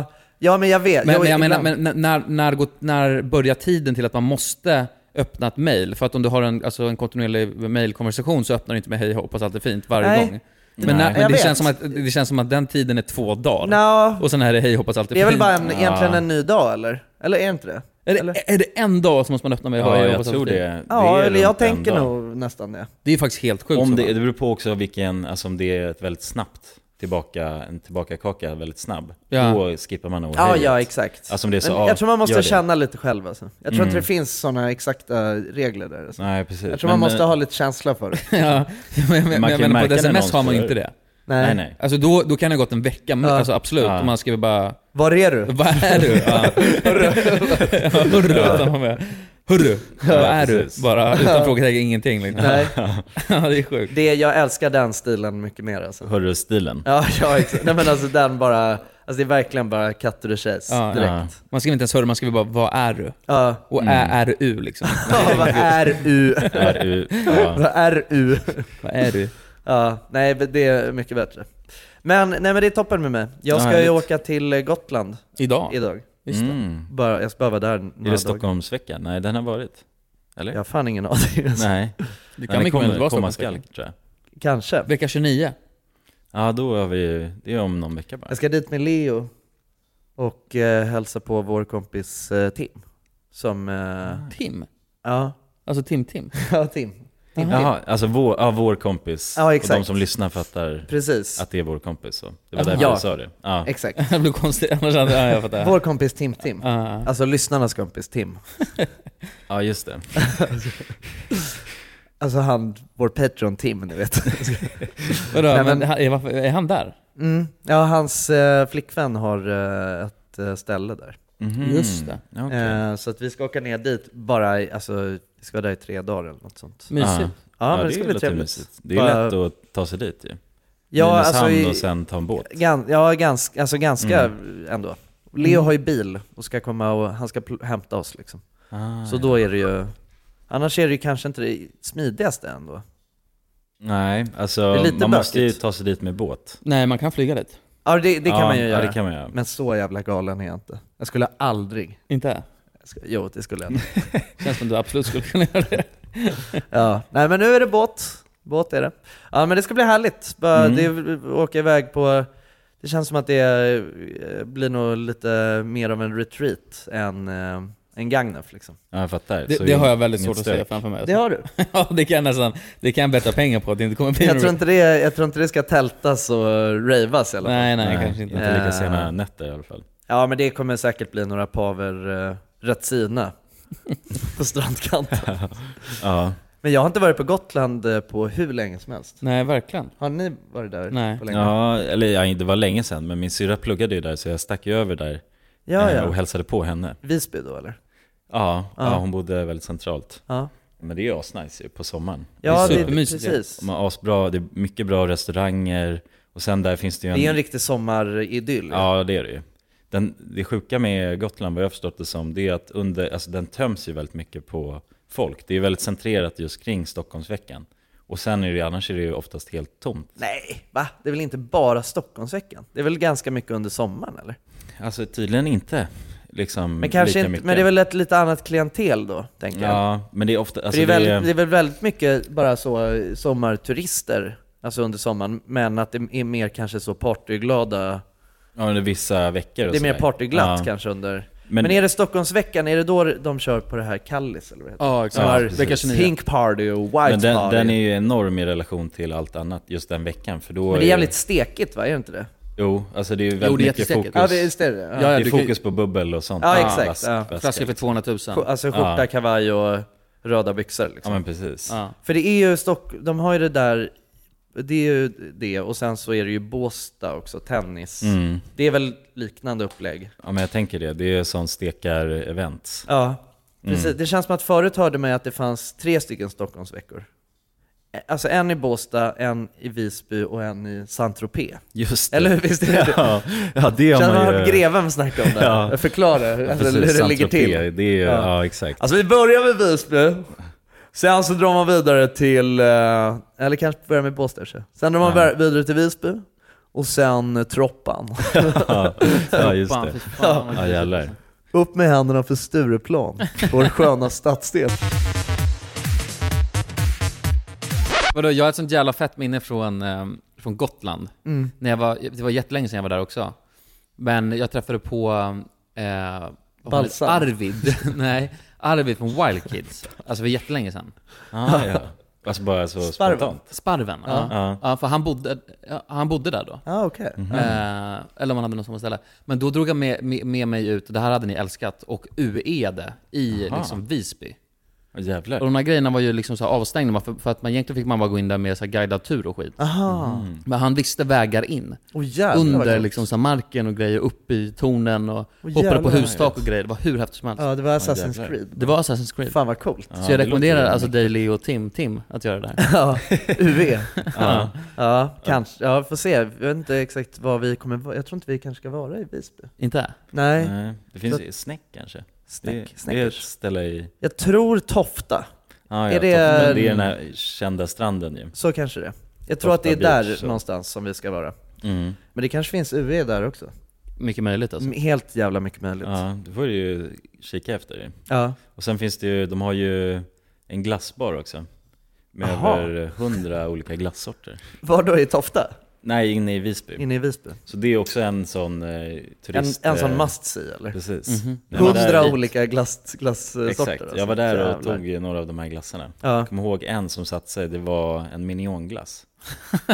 S3: Ja, ja men jag vet.
S2: Men,
S3: Jo,
S2: men jag menar,
S3: ibland-
S2: men när, när, när, går, när börjar tiden till att man måste öppna ett mail? För att om du har en, alltså en kontinuerlig mailkonversation så öppnar du inte med hej hoppas allt är fint varje
S3: Nej.
S2: gång. Men, när, men
S3: Jag
S2: det,
S3: vet.
S2: känns som att, det känns som att den tiden är två dagar.
S3: Nja.
S2: Och sen är det hej hoppas allt är
S3: Det är
S2: fint.
S3: väl bara en,
S1: Ah.
S3: egentligen en ny dag eller? Eller är det inte det?
S2: är, det, är det en dag så måste man öppna med
S1: Ja,
S2: hej
S1: jag
S2: hoppas allt
S1: tror
S2: är fint?
S1: det.
S3: Ja,
S1: det är
S3: eller jag
S1: runt en
S3: tänker
S1: dag.
S3: nog nästan det.
S2: Det är faktiskt helt sjukt.
S1: Om
S2: som
S1: det,
S2: fan.
S1: det beror på också vilken, alltså om det är ett väldigt snabbt tillbaka, en tillbakakaka väldigt snabb,
S2: Ja.
S1: då skippar man nog
S3: Ja,
S1: hejet.
S3: ja exakt.
S1: Alltså om det är så,
S3: Men
S1: ja,
S3: jag tror man
S1: gör
S3: måste
S1: det. Mm.
S3: känna lite själv alltså. Jag tror inte det finns sådana exakta regler där. Alltså.
S1: Nej, precis.
S3: Jag tror man
S1: Men,
S3: måste
S1: eh,
S3: ha lite känsla för det.
S2: <laughs> ja, men, men, men,
S1: Man kan
S2: jag menar, på
S1: märka
S2: ett
S1: när
S2: sms
S1: någon
S2: har man ju
S1: slår.
S2: inte det.
S1: <laughs> Nej, nej.
S2: Alltså då, då kan det ha gått en vecka, men- alltså absolut.
S1: Ja.
S2: Om man skriver bara
S1: <laughs>
S3: Var är du?
S2: Vad är du? Ja. Hurra. Hurra. utan man bara, Hörru, vad är
S1: precis.
S2: du? Bara utan frågetecken, ingenting liksom.
S3: Nej,
S2: <laughs> Ja, det är sjukt.
S3: det, jag älskar den stilen mycket mer alltså.
S1: Hörru-stilen.
S3: Ja, ja exakt. Nej men alltså den bara, alltså det är verkligen bara katt och tjejs
S2: Ja,
S3: direkt.
S1: Ja.
S2: Man skriver inte ens hörru, man skriver bara vad är du?
S3: Ja.
S2: Och ä är u liksom.
S3: Ja, <laughs> vad är U?
S1: Är
S3: <laughs>
S1: u- ja.
S3: Vad är U?
S2: vad är du?
S3: Ja, nej men det är mycket bättre. Men, nej men det är toppen med mig. Jag ska ju
S2: härligt.
S3: åka till eh, Gotland
S2: Idag?
S3: idag.
S2: Just det.
S1: Mm.
S3: Bara, jag ska bara vara där några
S1: Är det
S3: dagar.
S1: Stockholmsvecka? Nej, den
S3: <laughs>
S1: har varit. Eller?
S3: Jag har fan ingen aning. alltså.
S1: Nej,
S2: Du kan
S1: den
S2: mycket väl
S1: kommer
S2: vara
S1: komma
S2: Stockholmsveckan.
S1: skall, tror jag.
S3: Kanske.
S2: Vecka 29.
S1: Ja, då har vi Det är om någon vecka bara.
S3: Jag ska dit med Leo och eh, hälsa på vår kompis eh, Tim. Som, eh,
S2: Tim.
S3: ja, <laughs>
S2: Alltså Tim-Tim.
S3: ja Tim.
S1: Jaha, alltså vår, ja, vår kompis.
S3: Ja, exakt.
S1: Och de som lyssnar fattar
S3: Precis.
S1: att det är vår kompis. Så. Det var därför
S3: Ja.
S1: du sa det. Ja.
S2: <laughs>
S3: Exakt.
S2: Det blir konstigt, annars hade ja, jag fattar. Ah.
S3: Vår kompis Tim-Tim.
S2: Ja.
S3: Alltså lyssnarnas kompis Tim.
S1: ja, just det.
S3: Alltså han, vår Patreon Tim, ni vet.
S2: Vadå,
S3: Nej,
S2: men,
S3: men-
S2: han- är, varför, är han där?
S3: Mm. Ja, hans eh, flickvän har eh, ett eh, ställe där.
S1: Mhm.
S2: Just det.
S1: Ja, okej.
S3: Eh, så att vi ska åka ner dit bara, i, alltså, vi ska vara där i tre dagar eller något sånt.
S1: Mm.
S3: Ja,
S2: Mysigt.
S3: men det, ska bli
S1: låter
S3: trevligt.
S1: mysigt. Det är
S3: Bara-
S1: lätt att ta sig dit ju.
S3: Ja,
S1: Nynäshamn
S3: alltså, i,
S1: och Mm. sen ta en båt.
S3: gan, ja ganska, alltså, ganska ändå. Leo har ju bil och ska komma och han ska pl- hämta oss liksom.
S1: Ah,
S3: Så då är det ju, annars är det ju kanske inte det smidigaste ändå.
S1: Nej, alltså
S3: är lite
S1: man måste ju
S3: bökigt.
S1: ta sig dit med båt.
S2: Nej, man kan flyga dit.
S3: Ja, det, det kan
S1: ja,
S3: man ju göra.
S1: Ja, det kan man göra.
S3: Men så jävla galen är jag inte. Jag skulle aldrig,
S2: Inte?
S3: jag skulle, jo det skulle jag.
S2: Känns som du absolut skulle kunna göra det.
S3: Ja, nej men nu är det båt. Båt är det. Ja men det ska bli härligt. Bara,
S2: Mm.
S3: Det, åka iväg på... Det känns som att det eh, blir nog lite mer av en retreat än eh, en Gagnef liksom.
S1: Ja, jag fattar.
S2: Det,
S1: Så
S2: det
S1: ju-
S2: har jag väldigt
S1: inget
S2: svårt att
S1: stök.
S2: se framför mig.
S3: Det har du.
S2: <laughs> ja, det kan jag nästan, det kan jag betta pengar på att det inte kommer bli
S3: Jag
S2: något-
S3: tror inte det, jag tror inte det ska tältas och ravas i alla fall.
S2: Nej, nej,
S1: Nej,
S2: kanske inte.
S1: Inte lika
S3: Eh.
S1: sena nätter i alla fall.
S3: Ja men det kommer säkert bli några paver eh, Retsina <laughs> på strandkanten.
S1: Ja.
S3: Men jag har inte varit på Gotland eh, på hur länge som helst.
S2: Nej, verkligen.
S3: Har ni varit där
S2: Nej.
S3: på länge?
S1: Ja, eller ja, det var länge sedan, men min syrra pluggade ju där så jag stack ju över där
S3: ja,
S1: eh,
S3: ja.
S1: och hälsade på henne.
S3: Visby då eller?
S1: Ja, ja.
S3: Ja.
S1: hon bodde väldigt centralt.
S3: Ja,
S1: Men det är ju asnice ju på sommaren.
S3: ja det är
S2: supermysigt, ja.
S3: precis.
S1: De har asbra, det är mycket bra restauranger och sen där finns det ju en...
S3: Det är en riktig sommaridyll.
S1: Ja, det är det ju. Den, det sjuka med Gotland, vad jag har förstått det som, det är att under, alltså den töms ju väldigt mycket på folk. Det är väldigt centrerat just kring Stockholmsveckan. Och sen är det, annars är det ju oftast helt tomt.
S3: Nej, va? Det är väl inte bara Stockholmsveckan? Det är väl ganska mycket under sommaren eller?
S1: Alltså tydligen inte liksom
S3: Men kanske
S1: lika
S3: inte,
S1: mycket.
S3: men det är väl ett lite annat klientel då, tänker jag.
S1: Ja, men det är ofta,
S3: För
S1: alltså
S3: det, är väldigt, det är väl väldigt mycket bara så eh, sommarturister, alltså under sommaren, men att det är mer kanske så partyglada,
S1: ja, under vissa veckor och
S3: det är mer
S1: sådär.
S3: partyglatt
S1: Ja.
S3: kanske under...
S1: Men,
S3: Men, är det Stockholmsveckan, är det då de kör på det här Kallis eller vad det heter?
S2: Ja,
S1: Ja,
S2: exakt.
S1: precis.
S2: Vecka 29.
S3: Pink party och white
S1: men den,
S3: party.
S1: den är ju enorm i relation till allt annat just den veckan. För
S3: men
S1: då
S3: det
S1: ju-
S3: är jävligt stekigt va, är det inte det?
S1: Jo, alltså det är ju
S4: Jo,
S1: väldigt
S4: det är
S1: mycket
S4: jättesäkert.
S1: fokus.
S3: Ja, det, visst är det ja.
S1: det
S4: Ja,
S1: är
S4: du kan ju-
S1: fokus på bubbel och sånt.
S3: Ja, exakt,
S1: vask-
S3: ja.
S1: väska.
S4: Flaska för 200 000.
S3: Alltså skjorta,
S1: Ja.
S3: kavaj och röda byxor liksom.
S1: Ja, men precis.
S4: Ja.
S3: För det är ju Stock... de har ju det där, det är ju det, och sen så är det ju Båstad också, tennis.
S1: Mm.
S3: Det är väl liknande upplägg?
S1: Ja men jag tänker det, det är ju sån stekar-event.
S3: Ja, precis.
S1: Mm.
S3: Det känns som att förut hörde man ju att det fanns tre stycken Stockholmsveckor. Eh, Alltså en i Båstad, en i Visby och en i Saint-Tropez.
S1: Just det.
S3: Eller hur? Visst är det?
S1: Ja, ja det
S3: Känns
S1: har
S3: man
S1: man
S3: hört
S1: ju.
S3: greven snacka om det?
S1: <laughs> Ja.
S3: Förklara hur,
S1: Ja,
S3: alltså,
S1: precis,
S3: hur det ligger
S1: Saint-Tropez,
S3: till.
S1: Det är ju, ja.
S3: Ja.
S1: exakt. <laughs>
S3: Alltså vi börjar med Visby, sen så drar man vidare till, eh, eller kanske börjar med Båstad så. Sen drar man
S1: Ja.
S3: vidare till Visby, och sen eh, Troppan.
S1: Ja, ja just
S4: Fan,
S1: det.
S4: fy fan, vad
S1: Ja
S4: grisigt.
S3: liksom.
S1: jävlar.
S3: Upp med händerna för Stureplan, vår sköna stadsdel.
S4: Vadå, jag har ett sånt jävla fett minne från, eh, från Gotland.
S3: Mm.
S4: När jag var, det var jättelänge sedan jag var där också. Men jag träffade på eh, vad fan heter-
S3: Balsam.
S4: Arvid. <laughs> Nej, Arvid från Wild Kids. Alltså det var jättelänge sedan.
S1: Ah, ja. Alltså bara så
S3: Sparven.
S1: spontant.
S4: Sparven. Ja.
S1: Ja.
S4: Ja, för han bodde, ja, han bodde där då.
S3: Ah, okej.
S4: Eh, eller om han hade något sommarställe. Men då drog han E med, med, med mig ut, det här hade ni älskat, och UE-ade i liksom, Visby.
S1: Åh, Jävlar.
S3: Oh,
S2: Och de här grejerna var ju liksom så här avstängda, för, för att man egentligen fick man bara gå in där med så här guidad tur och skit.
S3: Aha.
S1: Mm.
S2: Men han visste vägar in.
S3: Åh, jävlar, vad
S2: under
S3: coolt.
S2: liksom så här marken och grejer, upp i tornen och hoppade
S3: jävlar,
S2: på
S3: vad
S2: hustak
S3: coolt.
S2: och grejer. Det var hur häftigt som helst.
S3: Ja, det var Assassin's
S1: jävlar.
S3: Creed.
S2: Det var Assassin's Creed.
S3: Fan vad coolt. <laughs>
S2: Så jag
S1: det
S2: rekommenderar
S1: låter
S2: alltså dig Leo och Tim, Tim att göra det <laughs> där.
S3: Ja, UV.
S1: Ja.
S3: Ja, kanske. Ja, får se. Jag vet inte exakt vad vi kommer vara. Jag tror inte vi kanske ska vara i Visby.
S2: Inte?
S3: Nej,
S1: Nej, det finns ju snäck kanske.
S3: snäck.
S1: det, det är ett
S3: Snäckers.
S1: ställe i...
S3: Jag tror Tofta.
S1: Ja,
S3: Är
S1: ja,
S3: det- eh,
S1: Tofta, men det är den här kända stranden ju.
S3: Så kanske det. Jag tror
S1: Tofta
S3: att det är där
S1: Beach, så.
S3: någonstans som vi ska vara.
S1: Mm.
S3: Men det kanske finns UV där också.
S2: Mycket möjligt alltså.
S3: M- Helt jävla mycket möjligt. Ja.
S1: Ja, då får du ju kika efter det.
S3: ja.
S1: Och sen finns det ju, de har ju en glassbar också. Med
S3: Aha.
S1: över hundra olika glassorter.
S3: Var då i Tofta?
S1: Nej, inne i Visby.
S3: Inne i Visby?
S1: Så det är också en sån eh,
S3: En,
S1: turist...
S3: en sån
S1: eh,
S3: must see eller?
S1: Precis. När man är
S3: Hundra
S1: dit-
S3: olika glass, glassorter
S1: Exakt,
S3: alltså.
S1: jag var där och
S3: Jävlar.
S1: tog ju några av de här glassarna.
S3: Ja.
S1: Jag kommer ihåg en som satte sig, det var en minionglass.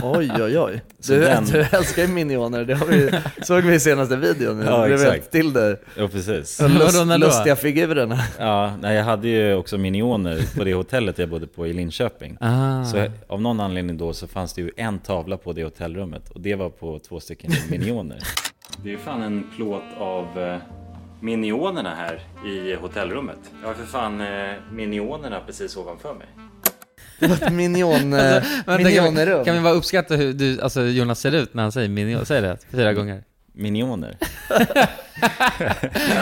S3: Oj oj oj.
S1: <laughs> Så
S3: Du,
S1: den-
S3: du älskar ju minioner, det har vi,
S1: <laughs>
S3: såg vi i senaste videon.
S1: Ja,
S3: det blev
S1: exakt.
S3: helt till dig.
S1: Ja precis.
S3: De lust,
S2: Vadå, när då? <laughs>
S3: lustiga figurerna.
S1: Ja, nej, jag hade ju också minioner på det hotellet jag bodde på i Linköping.
S2: Ah.
S1: Så av någon anledning då så fanns det ju en tavla på det hotellrummet och det var på två stycken minioner. <laughs> Det är ju fan en plåt av eh, minionerna här i hotellrummet. Jag har för fan eh, minionerna precis ovanför mig.
S3: Det var ett minion,
S2: Vänta, kan, vi,
S3: minionerum.
S2: kan vi bara uppskatta hur du, alltså Jonas ser ut när han säger minion? Säg det fyra gånger.
S1: Minioner?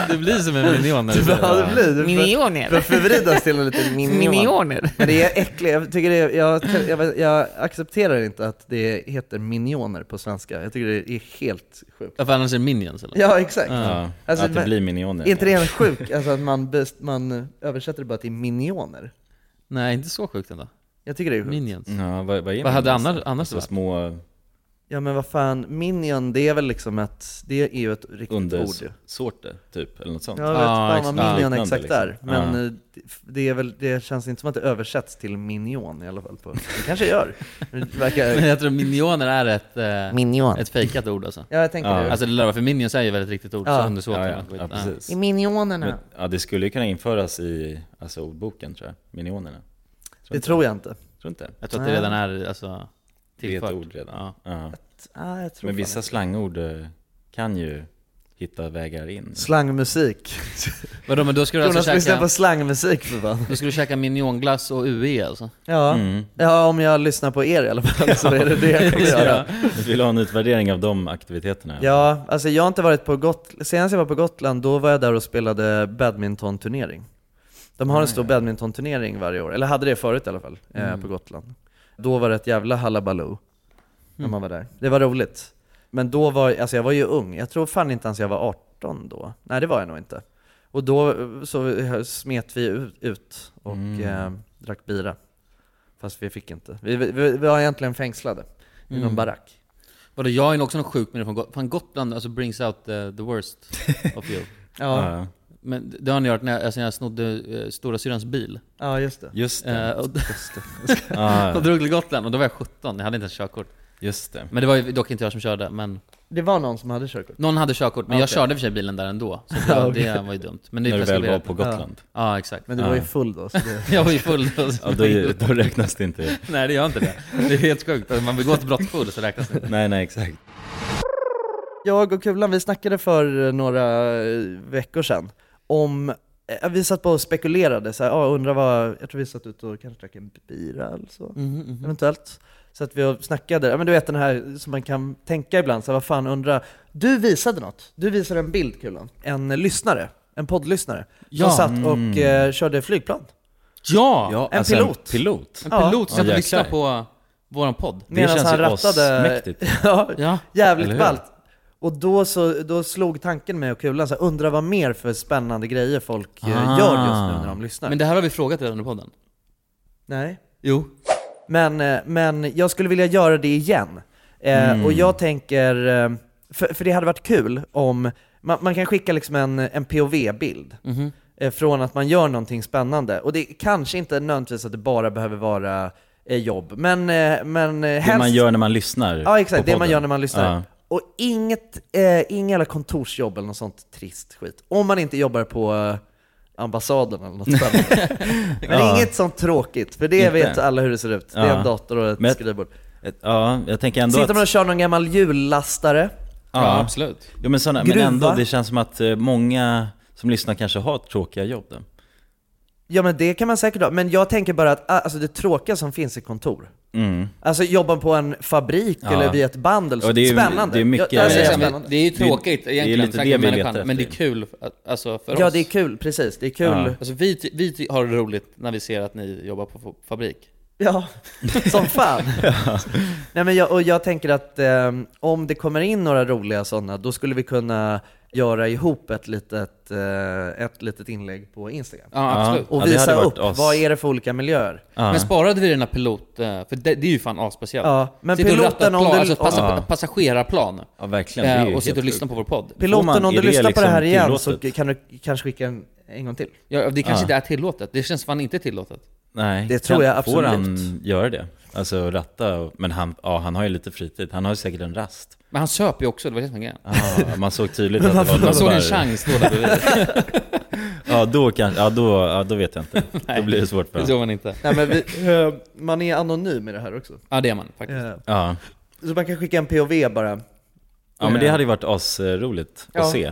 S2: Du blir som
S3: <laughs>
S2: en minion när du säger
S3: Ja,
S2: det.
S3: det blir det. För- För att förvridas till en liten minion. Men det är äckligt, jag, tycker det är, jag, jag, jag accepterar inte att det heter minioner på svenska. Jag tycker det är helt sjukt.
S2: Ja, för annars är det minions eller?
S3: Ja, exakt.
S1: Ja,
S3: Alltså,
S1: att det
S3: men-
S1: blir minioner.
S3: Är inte det en sjuk, alltså att man, best, man översätter det bara till minioner?
S2: Nej, inte så sjukt ändå.
S3: Jag tycker det är sjukt.
S2: Minions.
S1: Ja, vad, vad, är
S2: Vad hade
S1: minions?
S2: annars, annars
S1: Så
S2: varit?
S1: små
S3: Ja men vad fan, minion det är väl liksom ett, det är ju ett riktigt ord ju.
S1: undersorter typ, eller något sånt.
S3: Jag vet
S2: Ja,
S3: fan vad
S2: exakt.
S3: minion
S1: Liknande,
S3: exakt
S1: liksom.
S3: är, men
S1: Ja.
S3: eh, det- det, är väl, det känns inte som att det översätts till minion i alla fall. På. Det kanske gör. Det
S2: Men
S1: <laughs>
S2: <laughs>
S3: verkar...
S2: jag tror minioner är ett, eh,
S3: Minion.
S2: ett fejkat ord alltså.
S3: Ja, jag tänker
S1: Ja.
S3: det.
S2: Alltså det lär vara, för minions är ju väl ett riktigt ord,
S3: Ja.
S2: så undersåtarna.
S1: ja, ja, ja, precis.
S3: I minionerna.
S1: Men, ja, det skulle ju kunna införas i alltså, ordboken tror jag, minionerna.
S3: det tror jag inte.
S1: Tror inte?
S2: Jag tror att det redan är alltså,
S1: Det är
S2: tillfört.
S1: ett ord redan.
S2: Ja.
S1: Ja.
S3: Ah, jag tror
S1: Men
S3: fan
S1: vissa
S3: inte.
S1: slangord eh, kan ju hitta vägar in.
S3: Slangmusik.
S2: Vadå, men då ska du alltså
S3: Jonas lyssnar
S2: käka,
S3: på slangmusik för fan.
S2: då ska du käka minionglass och UE alltså?
S3: Ja.
S1: Mm.
S3: ja, om jag lyssnar på er i alla fall så är det det
S2: <laughs>
S3: jag kommer göra.
S1: Ja. <laughs> Vi vill ha en utvärdering av de aktiviteterna.
S3: Ja, alltså jag har inte varit på Gotland. Senast jag var på Gotland, då var jag där och spelade badmintonturnering. De har en stor badmintonturnering varje år, eller hade det förut i alla fall, eh, på Gotland. Då var det ett jävla hallabaloo när man var där. Det var roligt. Men då var, alltså jag var ju ung, jag tror fan inte ens jag var 18 då. Nej det var jag nog inte. Och då eh, så eh, smet vi ut- ut och eh, drack bira. Fast vi fick inte. Vi, vi, vi var egentligen fängslade i någon barack.
S2: Vadå, jag är också någon sjuk minne från Gotland. Fan Gotland alltså brings out the, the worst of
S1: <laughs>
S2: you.
S3: Ja,
S1: Ja,
S2: Men det- det har ni hört när jag, alltså, när jag snodde eh, stora syrrans bil.
S3: ja just det.
S1: just
S2: Eh,
S1: det.
S2: och, och <laughs>
S1: Ah, Ja,
S2: drog till Gotland och då var jag 17, jag hade inte ens körkort.
S1: just det.
S2: Men det var ju dock inte jag som körde, men
S3: Det var någon som hade körkort.
S2: någon hade körkort, men jag körde i och för sig bilen där ändå. Så
S3: <laughs>
S2: det, var- det var ju dumt. Men det är
S1: När du väl var
S2: preskriberat.
S1: på Gotland.
S2: Ja, exakt.
S3: Men du var ju full då. Så det... <laughs>
S2: Jag var ju full då. så-
S1: Ja, då, då räknas det inte.
S2: Nej, det gör inte det. Det är helt sjukt. Alltså, man begår ett brott full så räknas det inte.
S1: Nej, nej, exakt.
S3: Jag och Kulan, vi snackade för några eh, veckor sedan om, eh, vi satt på och spekulerade, så här, ah, undrar vad, jag tror vi satt ute och kanske drack en bira eller så,
S1: Mhm,
S3: eventuellt. Så att vi snackade, ja men du vet den här som man kan tänka ibland, så här, vad fan undrar, du visade något, du visade en bild Kulan, en lyssnare, en poddlyssnare,
S2: Ja.
S3: som satt och
S1: Mm.
S3: eh, körde flygplan.
S2: Ja!
S1: Ja,
S3: en pilot.
S1: Alltså, En pilot.
S2: En
S3: Ja.
S2: pilot som
S1: Ja,
S2: får lyssna
S1: jäklar.
S2: på våran podd.
S1: Det
S3: Medan
S1: känns
S3: han
S1: ju
S3: rattade...
S1: asmäktigt.
S3: <laughs> ja,
S2: Ja.
S1: Eller
S3: jävligt
S1: hur?
S3: ballt. Och då, så, då slog tanken mig och kulan, så här, undrar vad mer för spännande grejer folk eh,
S1: Ah.
S3: gör just nu när de lyssnar.
S2: Men det här har vi frågat redan i podden.
S3: Nej.
S2: Jo.
S3: Men, eh, men jag skulle vilja göra det igen. Eh,
S1: Mm.
S3: Och jag tänker, eh, för, för det hade varit kul om, man, man kan skicka liksom en, en POV-bild
S1: Mm-hmm.
S3: eh, från att man gör någonting spännande. Och det är kanske inte nödvändigtvis att det bara behöver vara eh, jobb, men, eh, men eh,
S1: Det
S3: helst...
S1: man gör när man lyssnar
S3: Ja exakt,
S1: på
S3: det man
S1: podden.
S3: gör när man lyssnar.
S1: Ja.
S3: Och inget, eh, inga jävla kontorsjobb eller något sånt trist skit. Om man inte jobbar på ambassaden eller något spännande.
S9: <laughs>
S3: Men
S9: Ja.
S3: inget sånt tråkigt, för det
S9: Inte.
S3: vet alla hur det ser ut. Det
S9: Ja.
S3: är en dator och ett
S9: Men-
S3: skrivbord.
S9: Ett- Ja, jag tänker ändå
S3: Sitter man och
S9: att...
S3: kör någon gammal jullastare?
S2: Ja,
S9: Ja,
S2: absolut.
S9: jo, men, såna, men
S3: Gruva.
S9: ändå, det känns som att eh, många som lyssnar kanske har tråkiga jobb. Då.
S3: Ja men det kan man säkert ha, men jag tänker bara att ah, alltså, det tråkiga som finns är kontor.
S9: Mm.
S3: Alltså jobba på en fabrik
S9: Ja.
S3: eller vid ett band eller så.
S9: Och det är ju-
S3: spännande.
S9: det är mycket-
S3: jag, jag
S2: det,
S3: säger
S2: är,
S9: Alltså,
S3: spännande.
S2: liksom- det är ju tråkigt
S9: det är
S2: egentligen,
S9: lite
S2: stackars
S9: det vi
S2: människan,
S9: letar
S2: men det är
S9: efter.
S2: kul att, alltså, för
S3: Ja
S2: oss.
S3: det är kul, precis. Det är kul.
S2: Alltså, vi, ty- vi ty- har det roligt när vi ser att ni jobbar på fa- fabrik.
S9: <laughs>
S3: Ja, som fan. Nej, men jag, och jag tänker att eh, om det kommer in några roliga sådana, då skulle vi kunna göra ihop ett litet, eh, ett litet inlägg på Instagram.
S2: Ja, absolut.
S3: Och
S9: Ja, det
S3: visa
S9: hade varit
S3: upp,
S9: oss.
S3: vad är det för olika miljöer?
S9: Ja.
S2: Men sparade vi den här pilot, eh, för det, det är ju fan asspeciellt.
S3: Ja, men
S2: Sitta och ratta
S3: piloten,
S2: ett
S3: om
S2: plan,
S3: du-
S2: alltså passa,
S9: Ja.
S2: passagerarplan.
S9: Ja, verkligen. Det är
S2: eh,
S9: ju
S2: och sitta
S9: helt
S2: och lyssna på vår podd.
S3: Piloten,
S9: man-
S3: om du
S9: är det
S3: lyssnar på det här
S9: liksom
S3: igen så
S9: tillåtet?
S3: kan du kanske skicka en, en gång till.
S2: Ja, det kanske
S9: Ja.
S2: inte är tillåtet. Det känns fan inte tillåtet.
S9: Nej,
S3: Det tror jag
S9: Får
S3: absolut.
S9: han göra det? Alltså ratta, och- men han, ja, han har ju lite fritid. Han har ju säkert en rast.
S2: Men han söp ju också, det var det som var grejen.
S9: Ja, man såg tydligt att det var
S2: Man såg en
S9: gubbar.
S2: chans då där bredvid.
S9: Ja, då kanske, ja då, ja, då vet jag inte. Då blir det svårt för
S2: Det
S9: honom.
S2: såg man inte.
S3: Nej,
S9: <laughs>
S3: men vi, eh, man är anonym i det här också.
S2: Ja, det är man faktiskt.
S3: Eh,
S9: Ja.
S3: så man kan skicka en POV bara.
S9: ja, men det hade ju varit asroligt
S3: Ja.
S9: att se.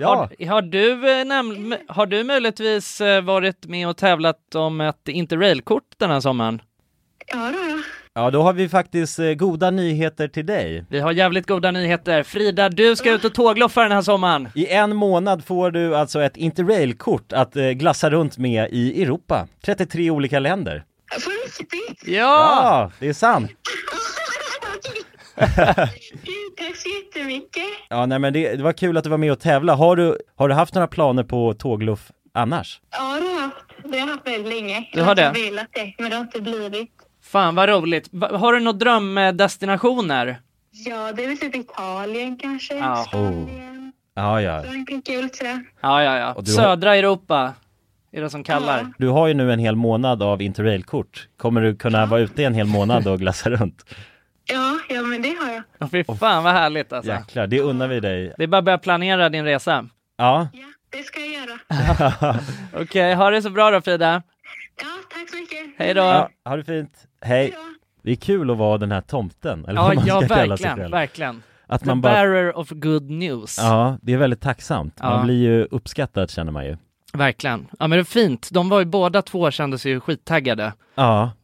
S1: Ja,
S3: Har, har, du, eh, näm- m- har du möjligtvis eh, varit med och tävlat om ett interrailkort den här sommaren?
S5: Ja, då, ja.
S1: ja då har vi faktiskt eh, goda nyheter till dig.
S3: Vi har jävligt goda nyheter. Frida, du ska ut och tågloffa den här sommaren.
S1: I en månad får du alltså ett interrailkort att eh, glassa runt med i Europa. 33 olika länder.
S5: På riktigt?
S1: Ja, det är sant.
S5: Gud, <laughs> Tack så jättemycket.
S1: Ja, nej men det, det var kul att du var med och tävla. Har du, har du haft några planer på tågluff annars?
S5: Ja, det har jag haft. Det har jag haft väldigt länge.
S3: Du har
S5: Jag
S3: det?
S5: velat det, men det har inte blivit.
S3: Fan vad roligt. Va- Har du några drömdestinationer?
S5: Ja, det är väl typ Italien kanske.
S1: Oh. Ja, ja.
S5: Frankrike, sådär.
S3: Ja, ja, ja.
S1: Och du har-
S3: Södra Europa är det som kallar.
S1: Du har ju nu en hel månad av interrailkort. Kommer du kunna vara ute i en hel månad och glassa runt?
S5: Ja, ja, men det har jag.
S3: Ja, fy fan vad härligt alltså.
S1: Jäklar, det unnar vi dig.
S3: Det är bara att börja planera din resa.
S1: Ja.
S5: Det ska jag göra.
S3: Okej, ha det så bra då Frida.
S5: Ja, tack så mycket.
S3: Hej då.
S1: ja, ha det fint. Hej. Det är kul att vara den här tomten, eller
S3: Ja,
S1: vad man
S3: ja
S1: ska kalla sig
S3: verkligen,
S1: själv.
S3: verkligen.
S1: Att
S3: The
S1: man bara-
S3: bearer of good news.
S1: Ja, det är väldigt tacksamt. Man
S3: Ja.
S1: blir ju uppskattad känner man ju.
S3: Verkligen. Ja men det är fint. De var ju båda två kände sig ju skittaggade
S1: Ja.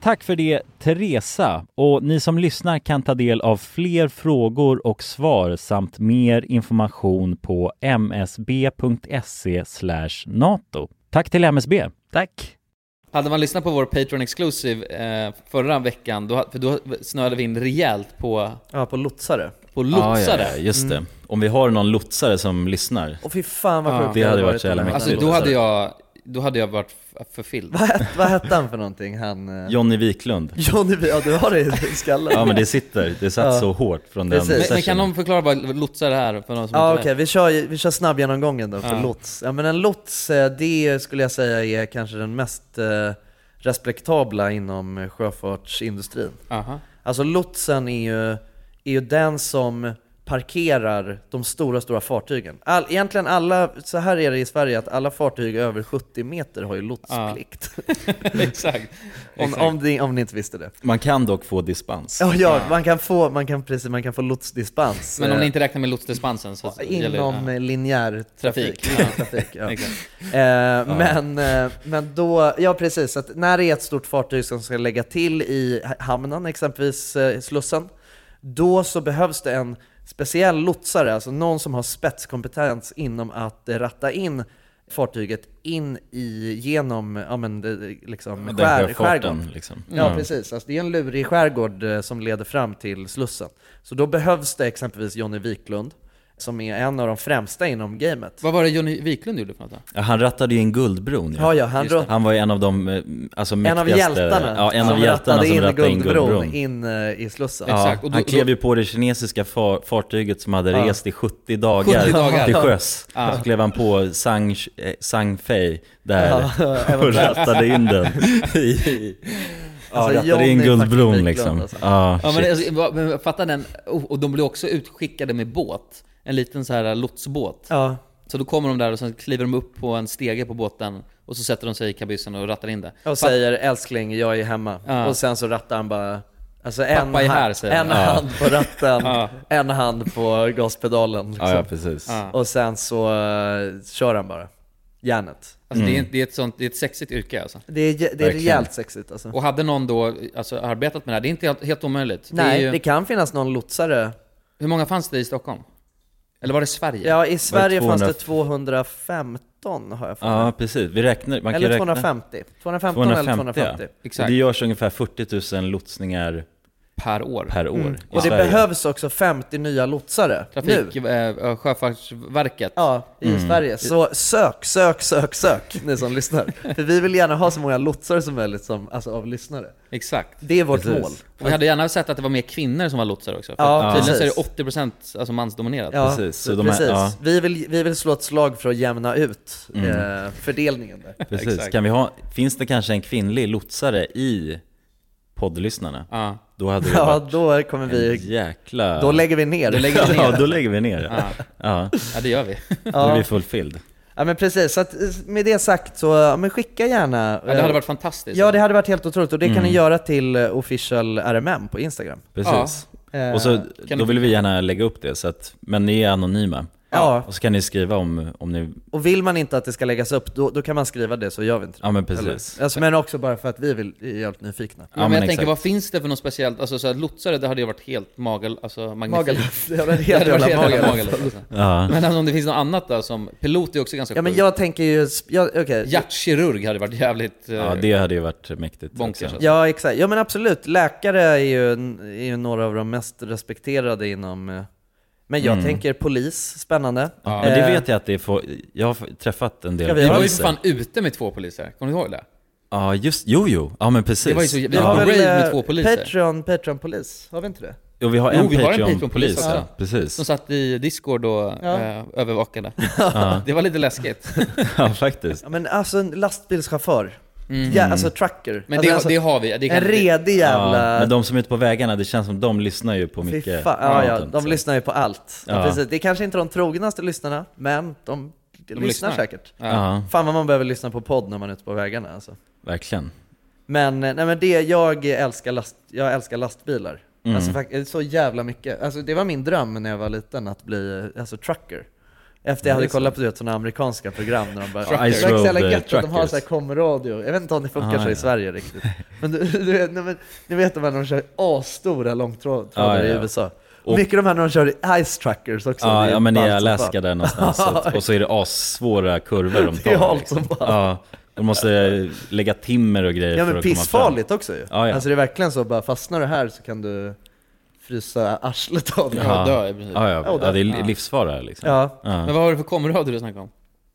S1: Tack för det Teresa och ni som lyssnar kan ta del av fler frågor och svar samt mer information på msb.se E NATO. Tack till MSB!
S3: Tack!
S2: Hade man lyssnat på vår Patreon Exclusive eh, förra veckan, då, för då snöade vi in rejält på...
S10: Ja, på lotsare.
S11: Ah,
S2: På
S1: Ah,
S2: lotsare.
S12: Ja, ja, ja, just det.
S2: Mm.
S12: Om vi har någon lotsare som lyssnar.
S10: Och fy fan vad
S12: Ja.
S10: sjukt
S12: Det hade varit så
S10: om
S12: jävla
S10: det
S12: mäktigt.
S2: Alltså då hade jag, då hade jag varit f- förfylld.
S3: Vad, het, vad hette han för någonting? Han... eh,
S1: Johnny Wiklund.
S3: Johnny, ja du har det i skallen.
S1: <laughs> Ja men det sitter, det satt
S3: Ja.
S1: så hårt från den
S3: Precis.
S2: Men, men
S1: sessionen.
S2: kan någon förklara vad lotsar det här för någon som
S3: Ja
S2: inte
S3: okej, vi kör, vi kör snabb genomgången då för
S2: Ja.
S3: lots. Ja men en lots, eh, det skulle jag säga är kanske den mest eh, respektabla inom eh, sjöfartsindustrin.
S2: Aha. <laughs>
S3: Alltså lotsen är ju, är ju den som parkerar de stora, stora fartygen. All, egentligen alla, så här är det i Sverige att alla fartyg över 70 meter har ju lotsplikt.
S2: Exakt.
S3: om, om, ni, om ni inte visste det.
S1: Man kan dock få dispens.
S3: Ja, ja, man kan få, man kan, precis, man kan få lotsdispens.
S2: Men om ni
S3: eh,
S2: inte räknar med lotsdispensen så gäller
S3: Inom
S2: det.
S3: eh, linjär trafik.
S2: Trafik.
S3: Linjär
S2: Ja.
S3: trafik, ja.
S2: Exakt.
S3: Eh, Men, eh, men då, ja precis, att när det är ett stort fartyg som ska lägga till i hamnen, exempelvis eh, Slussen, då så behövs det en speciell lotsare, alltså någon som har spetskompetens inom att eh, ratta in fartyget in i, genom, ja men det- det- liksom
S1: Den
S3: skär,
S1: sjöfarten,
S3: skärgården.
S1: liksom.
S3: Ja
S1: Mm.
S3: precis, alltså, det är en lurig skärgård eh, som leder fram till Slussen. Så då behövs det exempelvis Johnny Wiklund, som är en av de främsta inom gamet.
S2: Vad var det Johnny Wiklund gjorde för något då?
S1: Ja, han rattade ju in Guldbron.
S3: Ja, ja, han Just det.
S1: var ju en av de eh, alltså,
S3: En av
S1: mäktigaste...
S3: hjältarna
S1: Ja, en av
S3: som
S1: hjältarna
S3: rattade
S1: som
S3: in
S1: rattade in
S3: Guldbron
S1: Guldbron.
S3: in, eh, i Slussen.
S1: Ja,
S3: Exakt, och då-
S1: han
S3: då-
S1: klev ju på det kinesiska far, fartyget som hade
S3: Ja.
S1: rest i 70 dagar,
S3: 70 dagar.
S1: till sjöss.
S3: Ja.
S1: Så klev han på Sang, eh, Sang Fei där
S3: Ja, även
S1: <laughs> och
S3: där.
S1: rattade in den. i- ja,
S2: Alltså,
S1: rattade in
S2: Johnny
S1: Guldbron
S2: fucking
S1: liksom.
S2: Wiklund, alltså.
S1: Ja,
S2: ja, men,
S1: shit.
S2: alltså, vad- men fatta den, Oh, och och de blir också utskickade med båt. En liten så här lotsbåt.
S3: Ja.
S2: Så då kommer de där och sen kliver de upp på en stege på båten och så sätter de sig i kabyssen och rattar in det.
S3: Och
S2: Fatt-
S3: säger älskling, jag är hemma.
S2: Ja.
S3: Och sen så rattar han bara, alltså
S2: Pappa
S3: en,
S2: är
S3: ha-
S2: här, säger han.
S3: en
S2: Ja.
S3: hand på ratten,
S2: Ja.
S3: en hand på gaspedalen. liksom.
S1: Ja, ja, precis. Ja.
S3: Och sen så eh, kör han bara, järnet.
S2: Alltså, det, är, det, är ett sånt, det är ett sexigt yrke alltså.
S3: Det är- det är Verkligen. rejält sexigt, alltså.
S2: Och hade någon då alltså, arbetat med det här, det är inte helt, helt omöjligt.
S3: Nej,
S2: det, är
S3: det kan finnas någon lotsare.
S2: Hur många fanns det i Stockholm? Eller var det Sverige?
S3: Ja, i Sverige fanns det Ah, 215 har jag för mig.
S1: Ja, precis. Vi räknar, man
S3: Eller
S1: kan
S3: 250.
S1: Räkna.
S3: 215 eller 250.
S1: ja. Och Det görs ungefär 40 000 lotsningar
S2: per år,
S1: per år
S3: Mm.
S1: i
S3: Och det
S1: Sverige.
S3: behövs också 50 nya lotsare nu.
S2: Trafik, eh, Sjöfartsverket.
S3: Ja, i
S2: Mm.
S3: Sverige. Så sök, sök, sök, sök, ni som lyssnar. För vi vill gärna ha så många lotsare som möjligt som, alltså, av lyssnare.
S2: Exakt.
S3: Det är vårt mål.
S2: Och vi hade gärna sett att det var mer kvinnor som var lotsare också. För
S3: Ja,
S2: ja, tydligen så är
S3: precis.
S2: det 80% alltså mansdominerat.
S3: Ja, precis.
S1: ja.
S3: vi, vill, vi vill slå ett slag för att jämna ut
S1: Mm.
S3: eh, fördelningen där.
S1: Precis. Kan vi ha, finns det kanske en kvinnlig lotsare i poddlyssnarna?
S2: Ja.
S1: Då hade det
S3: Ja,
S1: varit
S3: då kommer
S1: en
S3: vi...
S1: jäkla...
S3: Då lägger vi
S1: <laughs>
S3: ner.
S1: Då lägger
S3: <laughs>
S1: vi ner. ja, då lägger vi ner.
S3: Ja.
S1: Ja. Ja.
S2: Ja, det gör vi.
S1: Då är vi fulfilled.
S3: Ja men precis, så att, eh, med det sagt så ja, men skicka gärna.
S2: Ja, det hade
S3: eh,
S2: varit fantastiskt.
S3: Ja det hade varit helt otroligt och det kan ni
S1: Mm.
S3: göra till eh, official RMM på Instagram.
S1: Precis.
S3: Ja.
S1: Och så,
S3: Eh, kan
S1: då
S3: ni-
S1: vill vi gärna lägga upp det, så att, men ni är anonyma.
S3: Ja.
S1: Och så kan ni skriva om, om ni...
S3: Och vill man inte att det ska läggas upp, då, då kan man skriva det så gör vi inte det.
S1: Ja, men precis.
S3: Eller? Alltså, men också bara för att vi vill, är jävligt nyfikna.
S2: Ja, men jag tänker, vad finns det för något speciellt? Alltså så här, lotsare, det hade ju varit helt magel... Alltså magnifikt. <laughs>
S3: Magaluf.
S1: <laughs>
S3: Det hade varit helt jävla Magaluf.
S2: alltså.
S1: Ja.
S2: Men alltså, om det finns något annat då, som... Pilot är också ganska
S3: Ja men
S2: sjukt.
S3: jag tänker ju, jag, okej.
S2: Hjärtkirurg hade varit jävligt... eh,
S1: Ja, det hade ju varit mäktigt.
S2: Bonkers,
S1: också.
S3: Ja exakt, ja men absolut. Läkare är ju, är ju några av de mest respekterade inom... eh, Men jag
S1: Mm.
S3: tänker polis, spännande.
S1: Ja, men det
S3: Eh,
S1: vet jag att det är få, Jag har träffat en del
S3: Ska vi
S2: Vi var ju för
S1: poliser.
S2: fan ute med två poliser, kommer du ihåg det?
S1: Ja, just... Jo, jo. Ja, men precis.
S2: Det var ju så- vi
S3: Vi
S1: ja.
S3: har väl
S2: rave med
S3: eh,
S2: två poliser.
S3: Patreon, Patreon-polis, har vi inte det?
S1: Jo, vi har
S2: Jo,
S1: en
S2: vi har en
S1: Patreon-polis
S2: Patreon-polis också.
S1: också. Precis.
S2: Som satt i Discord och
S3: Ja.
S2: eh,
S3: <laughs>
S2: övervakade.
S1: Ja.
S2: Det var lite läskigt.
S1: Ja, faktiskt.
S3: Ja men alltså en lastbilschaufför.
S2: Mm.
S3: Ja, alltså trucker.
S2: Men
S3: alltså,
S2: det,
S3: alltså,
S2: det har vi. Det kan
S3: en redig <laughs> jävla...
S1: Ja, men de som är ute på vägarna, det känns som de lyssnar ju på
S3: Fy
S1: mycket
S3: fan, ja, ja,
S1: content,
S3: de
S1: så.
S3: lyssnar ju på allt. Ja.
S1: Ja.
S3: Precis. Det är kanske inte de trognaste lyssnarna, men de, de lyssnar,
S1: lyssnar.
S3: säkert.
S1: Ja. Ja.
S3: Fan vad man behöver lyssna på podd när man är ute på vägarna alltså.
S1: Verkligen.
S3: Men, eh, nej, men det, jag, älskar last, jag älskar lastbilar.
S1: Mm.
S3: Alltså, fakt- så jävla mycket. Alltså, det var min dröm när jag var liten att bli eh, alltså, trucker. Efter jag
S1: Det
S3: hade
S1: är så.
S3: kollat på du vet, sådana amerikanska program när de bara... "Ah,
S1: Trucker.
S3: Det
S1: Ice
S3: var så jävla
S1: Road, eh,
S3: gött att de har
S1: Truckers.
S3: så här komradio. Jag vet inte om det funkar
S1: Ah,
S3: så i
S1: ja.
S3: Sverige riktigt. Men du, du, vet- nej, men, ni vet de här när de kör asstora långtradare
S1: Ah, ja,
S3: i
S1: ja.
S3: USA.
S1: Och-
S3: Mycket de här när de kör ice truckers också.
S1: Ja,
S3: Det är
S1: ja men i
S3: ballt som
S1: Alaska
S3: fan. <laughs>
S1: där någonstans. Så, och så är det assvåra kurvor de
S3: Det
S1: tar. liksom.
S3: är halt som fan.
S1: Ja, de måste lägga timmer och grejer
S3: Ja
S1: för
S3: men
S1: att komma fram.
S3: pissfarligt också ju.
S1: Ah, Ja, ja.
S3: Alltså det är verkligen så, bara fastnar du här så kan du frysa arslet av dig.
S1: ja. Ja, ja.
S3: och dö.
S1: ja, det är li- livsfara liksom.
S3: Ja.
S2: Men vad har du för komradio du snackar om?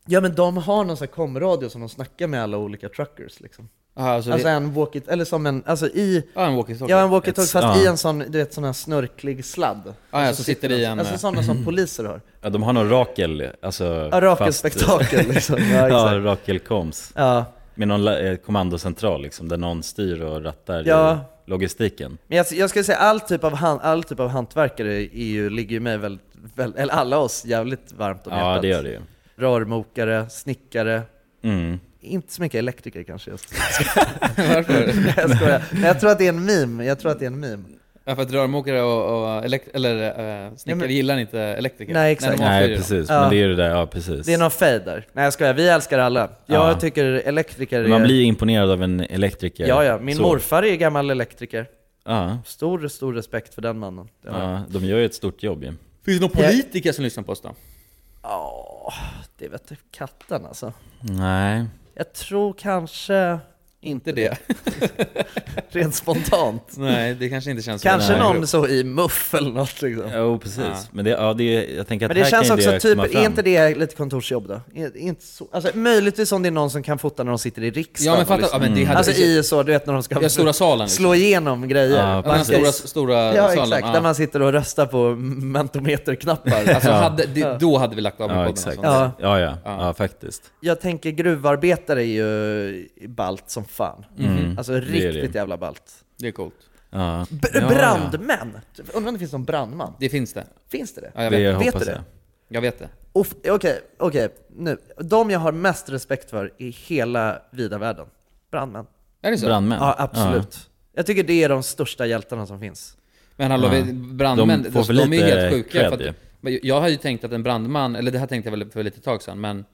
S3: Ja men de har någon sån här komradio som de snackar med alla olika truckers liksom.
S2: Aha, alltså
S3: alltså
S2: det-
S3: en walkie, eller som en, alltså i...
S2: Ja, en walkie-talkie.
S3: Ja en walkie-talkie
S2: Ett-
S3: fast
S1: ja.
S3: i en sån, du vet sån här snörklig sladd.
S2: ja,
S3: Och
S2: som sitter i en-
S3: Alltså
S1: eh,
S3: sådana
S1: <clears throat>
S3: som poliser har.
S1: Ja, de har någon Rakel, alltså...
S3: Ja, Rakel-spektakel,
S1: fast-
S3: liksom. Ja,
S1: <laughs> Ja,
S3: exakt.
S1: Rakel Koms.
S3: Ja.
S1: Med någon la- eh, kommandocentral liksom, där någon styr och rattar
S3: Ja.
S1: i logistiken.
S3: Men jag, jag skulle säga all typ av, han, all typ av hantverkare är ju, ligger ju mig väldigt, väl, eller alla oss jävligt varmt om
S1: Ja,
S3: hjärtat.
S1: det gör det ju.
S3: Rörmokare, snickare.
S1: Mm.
S3: Inte så mycket elektriker kanske
S1: <laughs>
S3: just. <laughs>
S2: Varför?
S3: Nej, jag skojar. Men jag tror att det är en meme. Jag tror att det är en meme.
S2: Ja, för att rörmokare och, och elekt- eller, eh, snickare
S3: Ja, men-
S2: gillar inte elektriker.
S3: Nej, exakt.
S2: de avskyr
S1: Nej,
S2: dem.
S1: precis.
S3: Ja.
S1: Men det är ju det där, ja precis.
S3: Det är någon fade där. Nej jag skojar, vi älskar alla. Jag
S1: Ja.
S3: tycker elektriker är...
S1: Man blir ju imponerad av en elektriker.
S3: Ja, ja. Min
S1: Så.
S3: morfar är gammal elektriker.
S1: Ja.
S3: Stor, stor respekt för den mannen. Det har jag.
S1: Ja, de gör ju ett stort jobb ju.
S2: Finns det någon politiker som lyssnar på oss då?
S3: Ja, det vet du, katten alltså.
S1: Nej.
S3: Jag tror kanske...
S2: Inte det.
S3: <laughs> Rent spontant.
S2: <laughs> Nej, det kanske inte känns så.
S3: Kanske
S2: Nej.
S3: någon så i muff eller något liksom.
S1: Jo, precis.
S3: Ja.
S1: Men det, ja, det, är- jag tänker att
S3: Men det
S1: här
S3: känns
S1: kan ju
S3: också
S1: det
S3: typ,
S1: komma
S3: är
S1: fram.
S3: inte det lite kontorsjobb då? Är, är inte så, alltså, möjligtvis om det är någon som kan fota när de sitter i riksdagen
S2: Ja, men
S3: och
S2: fatta-
S3: lyssnar.
S2: ja, men
S1: Mm.
S2: det hade-
S3: Alltså i så, du vet när de ska
S2: Ja, stora salen, liksom.
S3: slå igenom grejer.
S2: Ja, Den här stora- stora
S3: ja,
S2: salen,
S3: exakt,
S2: ja.
S3: där man sitter och röstar på mentometerknappar.
S2: <laughs> Alltså, hade, det, då hade vi lagt av med
S1: Ja,
S2: podden.
S1: exakt.
S2: och
S1: Ja.
S2: sånt.
S1: Ja, ja. faktiskt.
S3: Jag tänker gruvarbetare är ju balt som fan.
S1: Mhm.
S3: Alltså
S1: Det är det.
S3: riktigt jävla balt.
S2: Det är coolt.
S1: Ja.
S3: B-
S2: Ja, ja.
S3: brandmän! Undrar om det finns någon brandman?
S2: Det finns det.
S3: Finns det det?
S2: Ja, jag vet.
S3: vet du det?
S2: Jag vet det.
S3: Och f- Okej, okej. Nu. De jag har mest respekt för i hela vida världen. Brandmän.
S2: Är det så?
S1: Brandmän?
S3: Ja, absolut. Jag tycker det är de största hjältarna som finns.
S2: Men hallå,
S1: Ja.
S2: vi- brandmän,
S1: De
S2: de,
S1: får för
S2: de, är ju
S1: lite
S2: helt sjuka.
S1: cred
S2: För att,
S1: ju.
S2: men jag har ju tänkt att en brandman, eller det här tänkte jag väl för lite tag sedan, men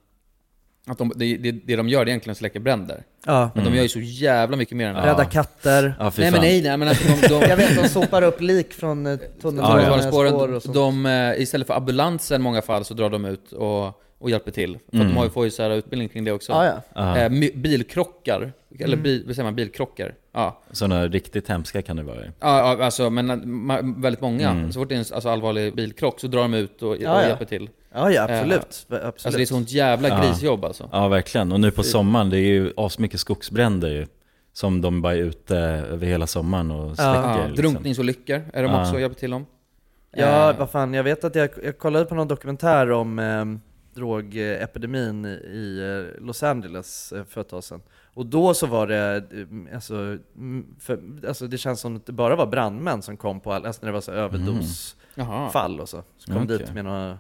S2: att de, det, det, det de gör det är egentligen att släcka bränder.
S3: Ja.
S2: Men de
S3: Mm.
S2: gör ju så jävla mycket mer än
S3: Rädda
S2: Ja.
S3: katter.
S1: Ja, fy
S2: nej, men
S1: fan.
S2: nej, nej, men alltså
S1: <laughs>
S2: de... de
S3: jag vet, de sopar upp lik från eh, tunnelbanespår
S2: Tunnelbanespåren,
S3: och sånt.
S2: de, eh, istället för ambulansen i många fall så drar de ut och, och hjälper till. För att
S1: Mm.
S2: de har ju, får ju så här utbildning kring det också.
S3: Ja, ja.
S1: Ja.
S2: Eh, my- bilkrockar, eller
S3: Mm.
S2: bi, vad säger man, bilkrockar. Ja.
S1: Sådana riktigt hemska kan det vara ju.
S2: Ja, ja, alltså, men ma- väldigt många.
S1: Mm.
S2: Så fort det är en alltså, allvarlig bilkrock så drar de ut och,
S3: Ja,
S2: och
S3: ja.
S2: hjälper till.
S3: Ja, ja,
S2: Eh,
S3: absolut. Absolut.
S2: Alltså det är sånt jävla grisjobb alltså.
S1: Ja, verkligen. Och nu på sommaren, det är ju asmycket skogsbränder ju. Som de bara är ute över hela sommaren och släcker.
S2: Ja,
S1: liksom.
S2: Drunkningsolyckor är de
S1: Ja.
S2: också och hjälper till om.
S3: Ja,
S2: Eh,
S3: vad fan, jag vet att jag, jag kollade på någon dokumentär om eh, drogepidemin i eh, Los Angeles eh, för ett tag sedan. Och då så var det, eh, alltså, mm, för, alltså det känns som att det bara var brandmän som kom på all, alltså när det var så
S2: Mm.
S3: överdosfall och så. Så kom
S1: Mm, okej.
S3: dit med några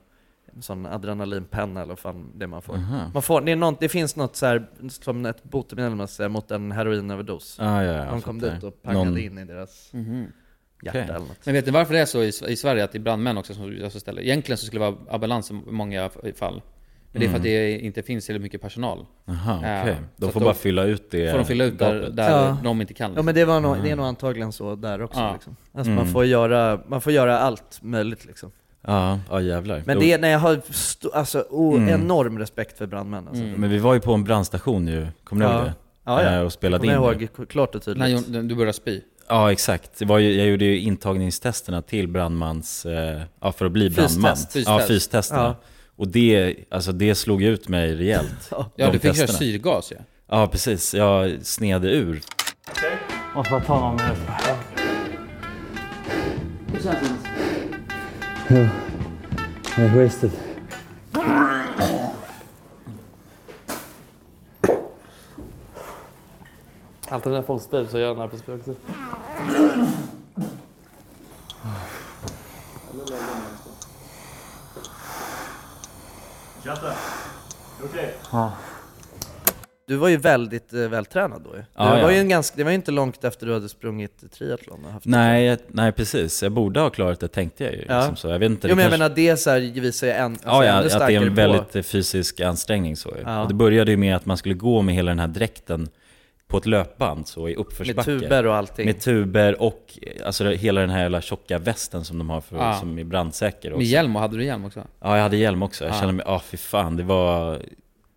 S3: en sån adrenalinpenna eller vad fan det man
S2: Mm.
S3: får.
S1: Aha.
S3: Man får det, är något, det finns något så här, som ett botemedel man säger, mot en heroinöverdos.
S1: Ah, ja, ja,
S3: De
S1: jag
S3: kom
S1: fattar.
S3: dit och pangade
S1: Någon-
S3: in i deras
S2: Mhm.
S3: hjärta
S1: Okej.
S3: eller något.
S2: Men vet ni varför det är så i, i Sverige att det är brandmän också som alltså, ställer? Egentligen så skulle det vara ambulans i många fall. Men det är för
S1: Mm.
S2: att det inte finns tillräckligt mycket personal.
S1: Aha,
S2: Eh,
S1: okej.
S2: så
S1: De
S2: att
S1: får bara fylla ut det
S2: Får de fylla ut där,
S1: gapet.
S2: där
S3: Ja.
S2: de inte kan.
S3: Ja
S2: Liksom.
S3: men det, var nog, det är nog antagligen så där också.
S2: Ja.
S3: Liksom. Alltså, man,
S1: Mm.
S3: får göra, man får göra allt möjligt liksom.
S1: Ja, ja jävlar.
S3: Men
S1: Då-
S3: det är, när jag har st- alltså, o-
S1: Mm.
S3: enorm respekt för brandmän alltså.
S1: Men vi var ju på en brandstation ju, kommer ni
S3: Ja.
S1: ihåg det?
S3: Ja, ja.
S1: Eh, Och spelade in
S3: Kommer jag
S1: det.
S3: ihåg k- klart och
S2: När
S3: tydligt.
S2: Jon- du börjar spy.
S1: Ja, exakt. Det var ju, jag gjorde ju intagningstesterna till brandmans, eh, ja för att bli
S2: Fystest.
S1: brandman.
S2: Fystest.
S1: Ja, fystesterna.
S2: Ja.
S1: Och det, alltså det slog ju ut mig
S2: <laughs>
S1: rejält.
S2: Ja,
S1: de
S2: du fick köra
S1: testerna.
S2: syrgas ju.
S1: Ja, precis. Jag sned ur.
S13: Måste bara ta någon minut.
S14: Hur känns det?
S15: I wasted.
S16: Alltid när folk spyr så gör jag den här på spy också.
S9: Tjata! Okej.
S3: Du var ju väldigt eh, vältränad då ju. Det,
S1: Ja,
S3: var
S1: ja.
S3: ju en ganska, det var ju inte långt efter du hade sprungit triathlon och haft
S1: Nej, jag- nej, precis. Jag borde ha klarat det tänkte jag ju.
S3: Ja.
S1: Liksom så. Jag vet inte,
S3: jo,
S1: det
S3: men jag
S1: kanske-
S3: menar det så här, visar ju en, alltså,
S1: Ja, ja
S3: ännu
S1: att det är
S3: starkare
S1: en
S3: på-
S1: väldigt eh, fysisk ansträngning så ju.
S3: Ja.
S1: Och det började ju med att man skulle gå med hela den här dräkten på ett löpband så i uppförsbacke.
S3: Med tuber och allting.
S1: Med tuber och eh, alltså, hela den här jävla tjocka västen som de har för,
S2: Ja.
S1: som är brandsäker.
S2: Med hjälm, och hade du hjälm också?
S1: Ja, jag hade hjälm också. Jag
S2: Ja.
S1: kände mig, ja fy fan, det var...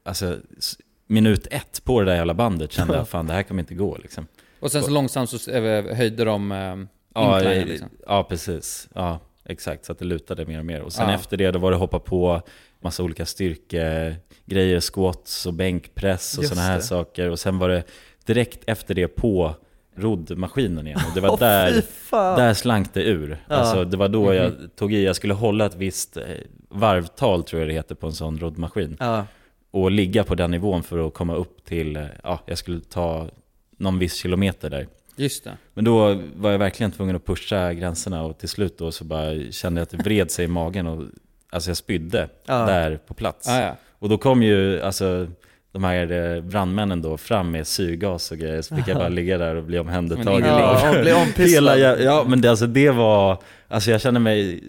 S1: Alltså, s- minut ett på det där jävla bandet kände
S3: <laughs>
S1: jag, fan det här kommer inte gå liksom.
S2: Och sen så långsamt så eh, höjde de eh,
S1: Ja,
S2: inclinen
S1: eh,
S2: liksom.
S1: ja precis. Ja. Exakt, så att det lutade mer och mer. Och sen
S2: Ja.
S1: efter det då var det hoppa på massa olika styrkegrejer, squats och bänkpress och
S2: Just
S1: sådana här
S2: det.
S1: saker. Och sen var det direkt efter det på roddmaskinen igen. Och det var
S2: Åh, fy
S1: där,
S2: fan.
S1: där slank det ur.
S2: Ja.
S1: Alltså, det var då jag
S2: Mhm.
S1: tog i. Jag skulle hålla ett visst eh, varvtal, tror jag det heter, på en sån roddmaskin. Och ligga på den nivån för att komma upp till, eh, ja, jag skulle ta någon viss kilometer där.
S2: Just det.
S1: Men då var jag verkligen tvungen att pusha gränserna och till slut då så bara kände jag att det vred sig i magen och alltså jag spydde
S2: Ja.
S1: där på plats.
S2: Ja, ja.
S1: Och då kom ju alltså de här eh, brandmännen då fram med syrgas och grejer så fick jag bara ligga där och bli omhändertagen.
S2: Men ja,
S1: Och-
S2: och bli ompysslad.
S1: <laughs> Hela jä- Ja men det, alltså det var, alltså jag kände mig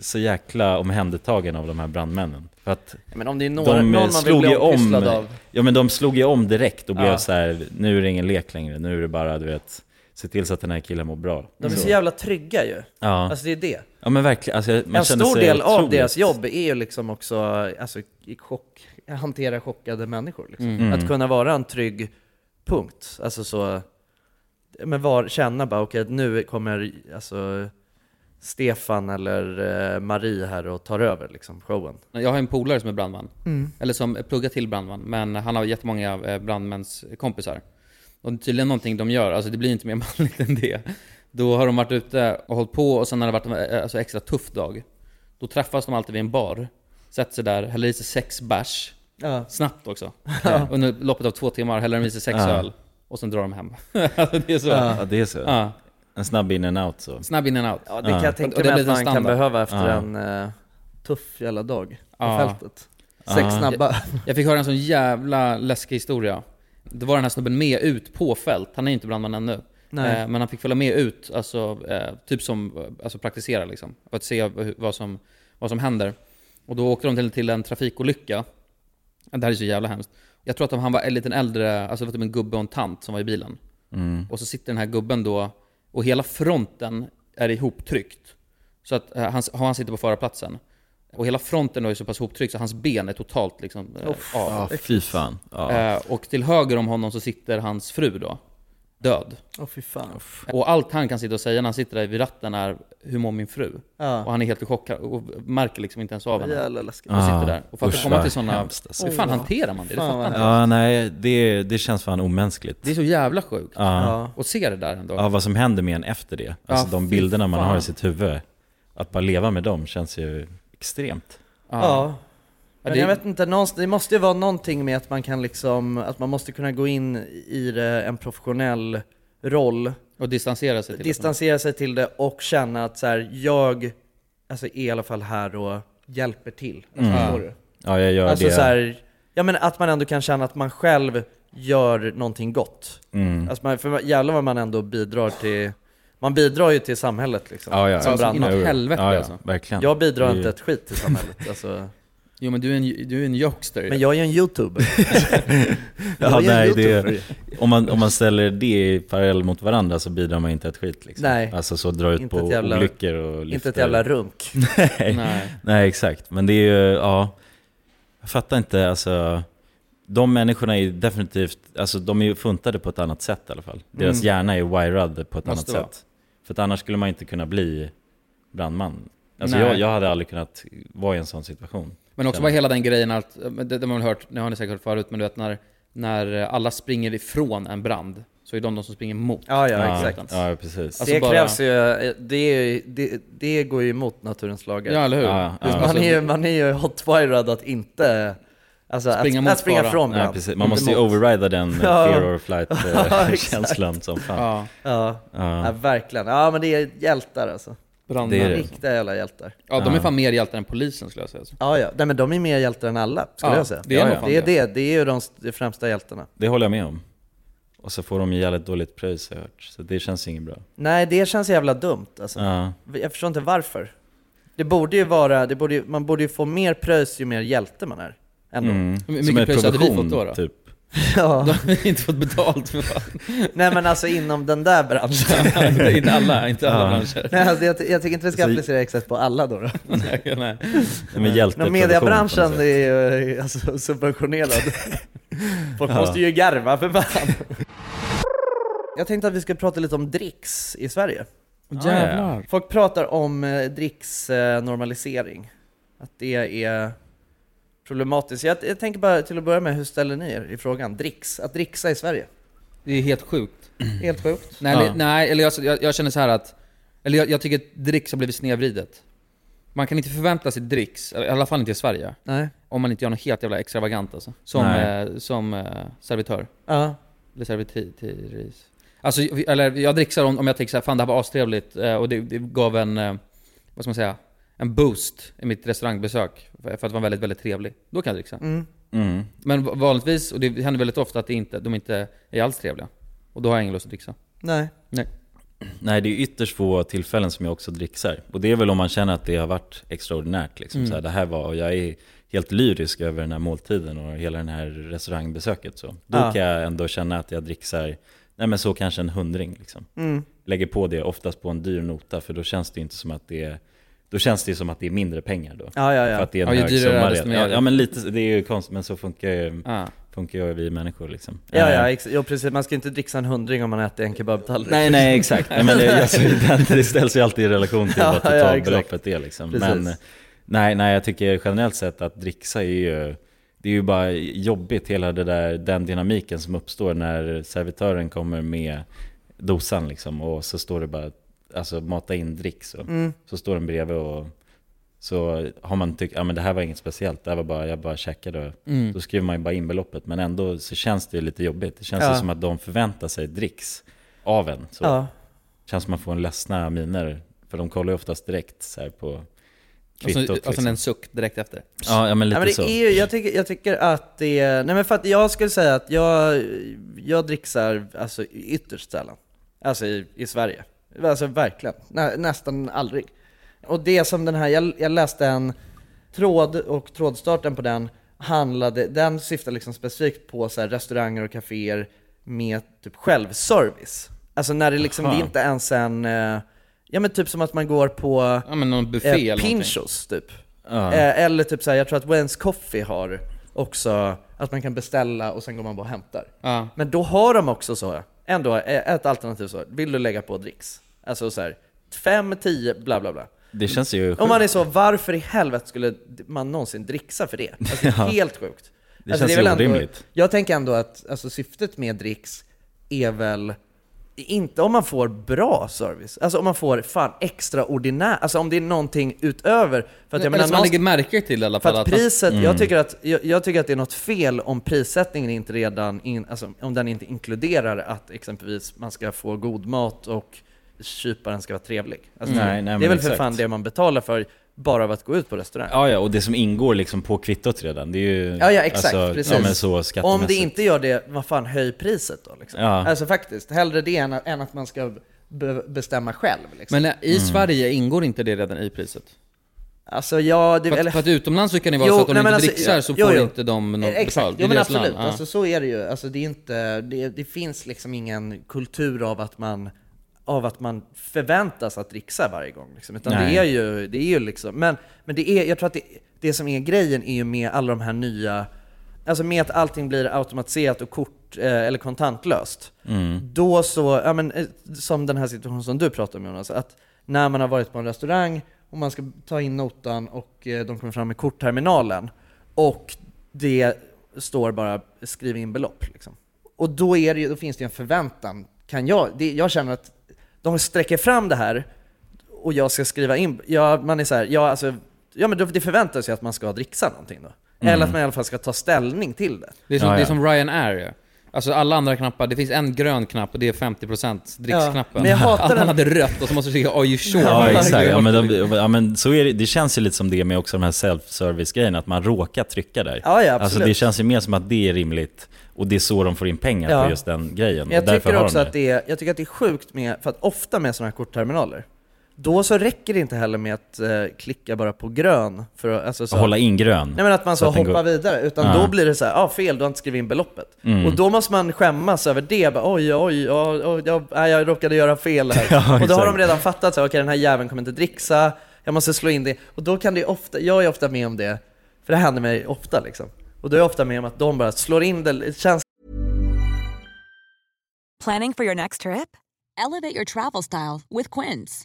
S1: så jäkla omhändertagen av de här brandmännen. För att
S17: Men om det är några- någon man vill
S1: slog
S17: bli
S1: ju om-
S17: ompysslad av.
S1: Ja men de slog ju om direkt och blev
S17: Ja.
S1: så här, nu är det ingen lek längre, nu är det bara du vet, se till så att den här killen mår bra.
S3: De är så jävla trygga ju.
S1: Ja.
S3: Alltså det är det.
S1: Ja men verkligen, alltså, jag- man
S3: en
S1: kände
S3: stor
S1: sig
S3: del av
S1: otroligt-
S3: deras jobb är ju liksom också alltså, i chock, hantera chockade människor. Liksom.
S1: Mm.
S3: Att kunna vara en trygg punkt. Alltså så, men var, känna bara okej nu kommer alltså, Stefan eller eh, Marie här och tar över liksom, showen.
S2: Jag har en polare som är brandman.
S3: Mm.
S2: Eller som pluggar till brandman. Men han har jättemånga eh, brandmäns kompisar. Och det är tydligen någonting de gör, alltså det blir inte mer <laughs> manligt än det. Då har de varit ute och hållit på och sen när det varit en eh, alltså, extra tuff dag. Då träffas de alltid vid en bar. Sätter sig där, häller i sig sex bärs.
S3: Ja.
S2: Snabbt också.
S1: <laughs> Ja.
S2: Under loppet av två timmar häller de i sig sex
S1: Ja.
S2: öl. Och sen drar de hem. <laughs> alltså, det är så.
S1: Ja, det är så.
S2: Ja.
S1: En snabb in and out så.
S2: Snabb in and out.
S3: Ja, det kan jag tänka
S2: Och det
S3: mig
S2: blir
S3: att
S2: en
S3: man kan
S2: standard.
S3: behöva efter
S2: Ja.
S3: en eh, tuff jävla dag på
S2: Ja.
S3: fältet.
S2: Ja.
S3: Sex snabba.
S2: Jag, jag fick höra en sån jävla läskig historia. Det var den här snubben med ut på fält. Han är ju inte brandman ännu.
S3: Nej.
S2: Eh, men han fick följa med ut, alltså, eh, typ som eh, alltså praktisera liksom. För att se hur- vad som, vad som händer. Och då åkte de till, till en trafikolycka. Det här är så jävla hemskt. Jag tror att de, han var en liten äldre, alltså det var typ en gubbe och en tant som var i bilen.
S1: Mm.
S2: Och så sitter den här gubben då, och hela fronten är ihoptryckt. Så att eh, han, han sitter på förarplatsen. Och hela fronten då är så pass ihoptryckt så hans ben är totalt liksom eh,
S1: Uff,
S2: av.
S1: ja, fy fan. Ja.
S2: Eh, Och till höger om honom så sitter hans fru då, död.
S3: Åh fy fan.
S2: Och allt han kan sitta och säga när han sitter där vid ratten är Hur mår min fru?
S3: Ja.
S2: Och han är helt chockad och märker liksom inte ens av henne.
S3: Jävla läskigt.
S2: Och sitter
S1: Ja.
S2: där. Och för att
S1: Usch,
S2: komma
S1: vad
S2: till sådana...
S1: hemskt, alltså.
S2: Hur fan hanterar man det? Det
S1: Fan,
S2: fattar
S1: vad
S2: inte jag.
S1: Ja, nej, det, det känns fan omänskligt.
S2: Det är så jävla sjukt.
S1: Ja.
S2: Och se det där ändå.
S1: Ja, vad som händer med en efter det. Alltså
S2: Ja,
S1: de
S2: fy
S1: bilderna man har i
S2: fan.
S1: sitt huvud. Att bara leva med dem känns ju extremt.
S3: Ja. Men
S1: det-
S3: jag vet inte, någonstans- det måste ju vara någonting med att man kan liksom, att man måste kunna gå in i det, en professionell roll.
S2: Och distansera sig till det.
S3: Distansera sig till det och känna att så här, jag alltså, är i alla fall här och hjälper till. Alltså,
S1: Mm.
S3: förstår du?
S1: Ja, jag gör
S3: alltså,
S1: det.
S3: Så här, ja, men att man ändå kan känna att man själv gör någonting gott.
S1: Mm.
S3: Alltså, man, för jävlar vad man ändå bidrar till, man bidrar ju till samhället liksom.
S1: Ja, ja,
S3: som
S1: ja.
S3: brandman.
S1: Inåt helvete, Ja, ja, alltså. verkligen. <laughs>
S3: Jag bidrar
S1: Det är ju-
S3: inte ett skit till samhället. Alltså.
S2: Jo men du är en, du är en jockster.
S3: Men jag är ju en
S1: <laughs>
S3: youtuber.
S1: Ja,
S3: Jag är
S1: nej,
S3: youtuber.
S1: det, om, man, om man ställer det i parallell mot varandra så bidrar man inte ett skit. Liksom.
S3: Nej.
S1: Alltså så dra ut
S3: Inte
S1: på
S3: ett jävla-
S1: olyckor och
S3: inte
S1: lyfter.
S3: ett jävla runk.
S1: nej.
S3: Nej.
S1: <laughs> nej. exakt. Men det är ju, ja. Jag fattar inte, alltså. De människorna är definitivt, alltså de är ju funtade på ett annat sätt i alla fall. Deras
S2: Mm.
S1: hjärna är wirad på ett
S2: Måste
S1: annat
S2: vara.
S1: sätt. För att annars skulle man inte kunna bli brandman. Alltså
S2: Nej.
S1: jag, jag hade aldrig kunnat vara i en sån situation.
S2: Men också
S1: Känner
S2: bara hela den grejen att, eh, men det, det har man hört, det har ni säkert hört förut, men du vet när, när alla springer ifrån en brand, så är de de som springer mot.
S3: Ja, ja,
S2: branden.
S3: exakt.
S1: ja, precis.
S2: Alltså
S3: det
S2: bara-
S3: krävs ju, det, är ju- det, det går ju emot naturens lagar.
S2: Ja, eller hur? Ja, Alltså, ja.
S3: Man, är ju, man är ju hotwirad att inte, alltså
S2: Springa
S3: att,
S2: mot
S3: att springa
S2: bara.
S3: från
S1: Ja,
S3: brand.
S1: precis. Man måste ju overrida den
S3: Ja.
S1: fear or
S3: Ja, exakt.
S1: flight-känslan som fan.
S3: Ja. Ja.
S1: Ja.
S3: Ja. verkligen. Ja men det är jäldar alltså.
S1: Brandmän. Det är det.
S3: Riktiga jävla hjältar.
S2: Ja, de är fan mer hjältar än polisen skulle jag säga. Alltså.
S3: Ja, ja. Nej, men de är mer hjältar än alla, skulle
S2: Ja,
S3: jag säga.
S2: det är nog
S3: ja, ja.
S2: fan
S3: det, är
S2: det.
S3: det. det är ju de st- främsta hjältarna.
S1: Det håller jag med om. Och så får de ju jävligt dåligt pröjs har jag hört. Så det känns inget bra.
S3: Nej, det känns jävla dumt alltså.
S1: Ja.
S3: Jag förstår inte varför. Det borde ju vara, det borde, ju- man borde ju få mer pröjs ju mer hjälte man är. Ändå.
S1: Mm. Hur mycket Som en pröjs hade vi provision, fått då, då? typ.
S3: <laughs> Ja.
S2: <laughs> De har inte fått betalt för <laughs>
S3: Nej men alltså inom den där
S1: <laughs>
S3: branschen.
S2: Inte alla- inte alla Ja. branscher. <laughs>
S3: Nej, alltså, jag, ty- jag tycker inte vi ska
S2: Alltså,
S3: applicera exakt på alla
S1: <laughs>
S3: då. då.
S2: Nej, nej.
S1: Men hjälte-
S3: Men
S1: provision på
S3: mediabranschen
S1: något
S3: är ju eh, alltså, subventionerad.
S1: <laughs>
S3: Folk
S1: Ja.
S3: måste ju garva för fan. Jag tänkte att vi skulle prata lite om dricks i Sverige.
S1: Jävlar.
S3: Folk pratar om eh, dricksnormalisering. Att det är problematiskt. Jag, jag tänker bara till att börja med, hur ställer ni er i frågan? Dricks, att dricksa i Sverige?
S2: Det är helt sjukt.
S1: Mm.
S3: Helt sjukt.
S2: Nej, eller, nej, eller jag, jag, jag känner så här att... Eller jag, jag tycker att dricks har blivit snedvridet. Man kan inte förvänta sig dricks, i alla fall inte i Sverige.
S3: Nej.
S2: Om man inte gör något helt jävla extravagant alltså. Som,
S1: Nej.
S2: eh, som eh, servitör.
S3: Ja.
S2: Eller servitris. Alltså, vi- eller jag dricksar om, om jag tänker såhär, fan det här var astrevligt eh, och det, det gav en, eh, vad ska man säga, en boost i mitt restaurangbesök. För för att vara väldigt, väldigt trevlig. Då kan jag dricksa.
S3: Mm.
S1: Mm.
S2: Men va- vanligtvis, och det händer väldigt ofta att det inte, de inte är alls trevliga. Och då har jag ingen lust att dricksa.
S3: Nej.
S2: Nej.
S1: Nej, det är ytterst få tillfällen som jag också dricksar. Och det är väl om man känner att det har varit extraordinärt. Liksom.
S2: Mm.
S1: Så här, det här var, och jag är helt lyrisk över den här måltiden och hela det här restaurangbesöket. Så. Då
S3: Ja.
S1: kan jag ändå känna att jag dricksar, nej men så kanske en hundring. Liksom.
S3: Mm.
S1: Lägger på det oftast på en dyr nota, för då känns det ju inte som att det är då känns det ju som att det är mindre pengar då.
S3: Ja, ja, ja.
S1: För att det är
S2: Ja,
S1: en
S2: ju
S1: hög
S2: dyrare,
S1: summa.
S2: desto
S1: redan.
S2: mer.
S1: Ja, ja, men lite, det är ju konstigt, men så funkar ju,
S2: Ja.
S1: funkar ju vi människor liksom.
S3: Ja,
S1: Eh,
S3: ja, ex- jo, precis. Man ska inte dricksa en hundring om man äter en kebabtallrik.
S1: Nej, nej exakt. Nej, men det, alltså, det- det ställs ju alltid i relation till
S3: Ja,
S1: vad
S3: ja,
S1: totalbeloppet
S3: exakt.
S1: är. Liksom.
S3: Precis.
S1: Men eh, nej, nej, jag tycker generellt sett att dricksa är ju, det är ju bara jobbigt, hela det där, den dynamiken som uppstår när servitören kommer med dosan liksom, och så står det bara, alltså mata in dricks. Och,
S3: Mm.
S1: Så står den bredvid och så har man tyckt, ja men det här var inget speciellt, det här var bara, jag bara checkade och
S2: Mm.
S1: då skriver man ju bara in beloppet. Men ändå så känns det ju lite jobbigt. Det känns
S3: Ja.
S1: ju som att de förväntar sig dricks av en.
S3: <laughs>
S1: Så.
S3: Ja.
S1: Känns som man får en ledsna miner, för de kollar ju oftast direkt så här på
S2: Och
S1: kvittot. liksom.
S2: sen, och sen en suck direkt efter.
S1: Ja, ja, men lite
S3: Nej, men
S1: så.
S3: det Är ju, jag, tycker, jag tycker att det är... Nej men för att jag skulle säga att jag, jag dricksar alltså, ytterst sällan. Alltså i, i Sverige. Alltså verkligen. Nä, nästan aldrig. Och det som den här, jag, jag läste en tråd och trådstarten på den handlade, den syftar liksom specifikt på så här, restauranger och kaféer med typ självservice. Alltså när det liksom,
S2: Aha.
S3: det är inte ens en, eh, ja men typ som att man går på
S2: Ja men någon buffé
S3: Eh,
S2: eller någonting.
S3: Pinchos typ.
S2: Ja.
S3: Eh, eller typ såhär, jag tror att Wayne's Coffee har också att man kan beställa och sen går man bara och hämtar.
S2: Ja.
S3: Men då har de också så, ändå eh, ett alternativ så, vill du lägga på dricks? Alltså såhär, 5, 10, bla bla bla.
S1: Det känns ju
S3: Om
S1: sjukt.
S3: man är så, varför i helvete skulle man någonsin dricksa
S1: <laughs>
S3: för det? Alltså, det är
S1: Ja.
S3: helt sjukt.
S1: Det
S3: alltså,
S1: känns
S3: är väl ändå,
S1: orimligt.
S3: Jag tänker ändå att alltså, syftet med dricks är väl inte om man får bra service, alltså om man får fan extraordinär, alltså om det är någonting utöver. För att, jag
S2: Eller som man
S3: menar, någonstans-
S2: lägger märke till i alla
S3: för
S2: fall.
S3: att
S2: man-
S3: priset,
S1: Mm.
S3: jag, tycker att, jag, jag tycker att det är något fel om prissättningen inte redan, in, alltså, om den inte inkluderar att exempelvis man ska få god mat och kyparen ska vara trevlig. Alltså,
S1: Mm. Nej, nej, men
S3: det är väl för
S1: exakt.
S3: fan det man betalar för bara av att gå ut på restaurang.
S1: Ja, ja, och det som ingår liksom på kvittot redan, det är ju...
S3: Ja, ja exakt,
S1: alltså,
S3: precis.
S1: Ja, men så
S3: om
S1: skattemässigt.
S3: det inte gör det, vad fan, höj priset då liksom.
S1: Ja.
S3: Alltså faktiskt, hellre det än, än att man ska be- bestämma själv liksom.
S2: Men eh,
S1: Mm.
S2: i Sverige ingår inte det redan i priset?
S3: Alltså ja, det...
S2: för, att,
S3: eller-
S2: för att utomlands så kan det vara
S3: Jo,
S2: så att om du
S3: nej,
S2: inte
S3: men alltså,
S2: dricksar så
S3: jo,
S2: får
S3: jo.
S2: inte de något
S3: Eh, Exakt,
S2: betalt. Det är
S3: jo, men
S2: deras
S3: absolut.
S2: land. Ja.
S3: Alltså, så är det ju. Alltså, det, är inte, det, det finns liksom ingen kultur av att man, av att man förväntas att dricksa varje gång. Liksom. Utan
S1: Nej.
S3: det är ju, det är ju liksom, men men det är, jag tror att det, det som är grejen är ju med alla de här nya, alltså med att allting blir automatiserat och kort eh, eller kontantlöst.
S1: Mm.
S3: Då så, ja, men, eh, som den här situationen som du pratar om Jonas, att när man har varit på en restaurang och man ska ta in notan och eh, de kommer fram med kortterminalen och det står bara skriv in belopp. Liksom. Och då, är det, ju- då finns det ju en förväntan. Kan jag, det, jag känner att de sträcker fram det här och jag ska skriva in, ja, man är så här, ja, alltså, ja men då- det förväntas ju att man ska dricksa någonting då.
S2: Mm.
S3: Eller att man i alla fall ska ta ställning till det.
S2: Det är som,
S3: Ja,
S2: Det
S3: ja.
S2: är som Ryanair ju. Alltså alla andra knappar, det finns en grön knapp och det är 50% dricksknappen.
S3: Ja, men jag hatar
S2: Alla
S3: den.
S2: hade rött och så måste du säga ”Are you sure?”
S3: <laughs>
S1: Ja, exakt. Ja, men,
S2: de...
S1: de, ja, men så är det, det känns ju lite som det med också de här self-service-grejerna, att man råkar trycka där.
S3: Ja, ja, absolut.
S1: alltså det känns ju mer som att det är rimligt, och det är så de får in pengar
S3: Ja.
S1: på just den grejen.
S3: Men jag
S1: och därför
S3: tycker
S1: har
S3: också
S1: de
S3: att det är, jag tycker att det är sjukt med, för att ofta med sådana här kortterminaler, då så räcker det inte heller med att eh, klicka bara på grön för att, alltså så,
S1: Att hålla in grön.
S3: Nej men att man så,
S1: Mm. Så att den
S3: hoppar
S1: går-
S3: vidare, utan
S1: Ja.
S3: då blir det så här, ah, fel, du har inte skrivit in beloppet.
S1: Mm.
S3: Och då måste man skämmas över det, bara, oj, oj, oj, oj, oj nej, jag råkade göra fel här.
S1: <laughs> Ja,
S3: och då har de
S1: exakt.
S3: redan fattat, så här, okej den här jäveln kommer inte dricksa, jag måste slå in det. Och då kan det ofta, jag är ofta med om det, för det händer mig ofta liksom. Och då är jag ofta med om att de bara slår in det, känns
S18: Planning for your next trip?
S15: Elevate your travel style with Quince.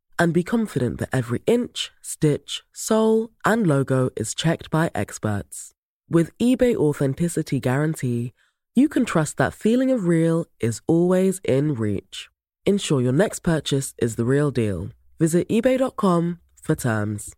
S19: and be confident that every inch, stitch, sole, and logo is checked by experts. With eBay Authenticity Guarantee, you can trust that feeling of real is always in reach. Ensure your next purchase is the real deal. Visit eBay.com for terms.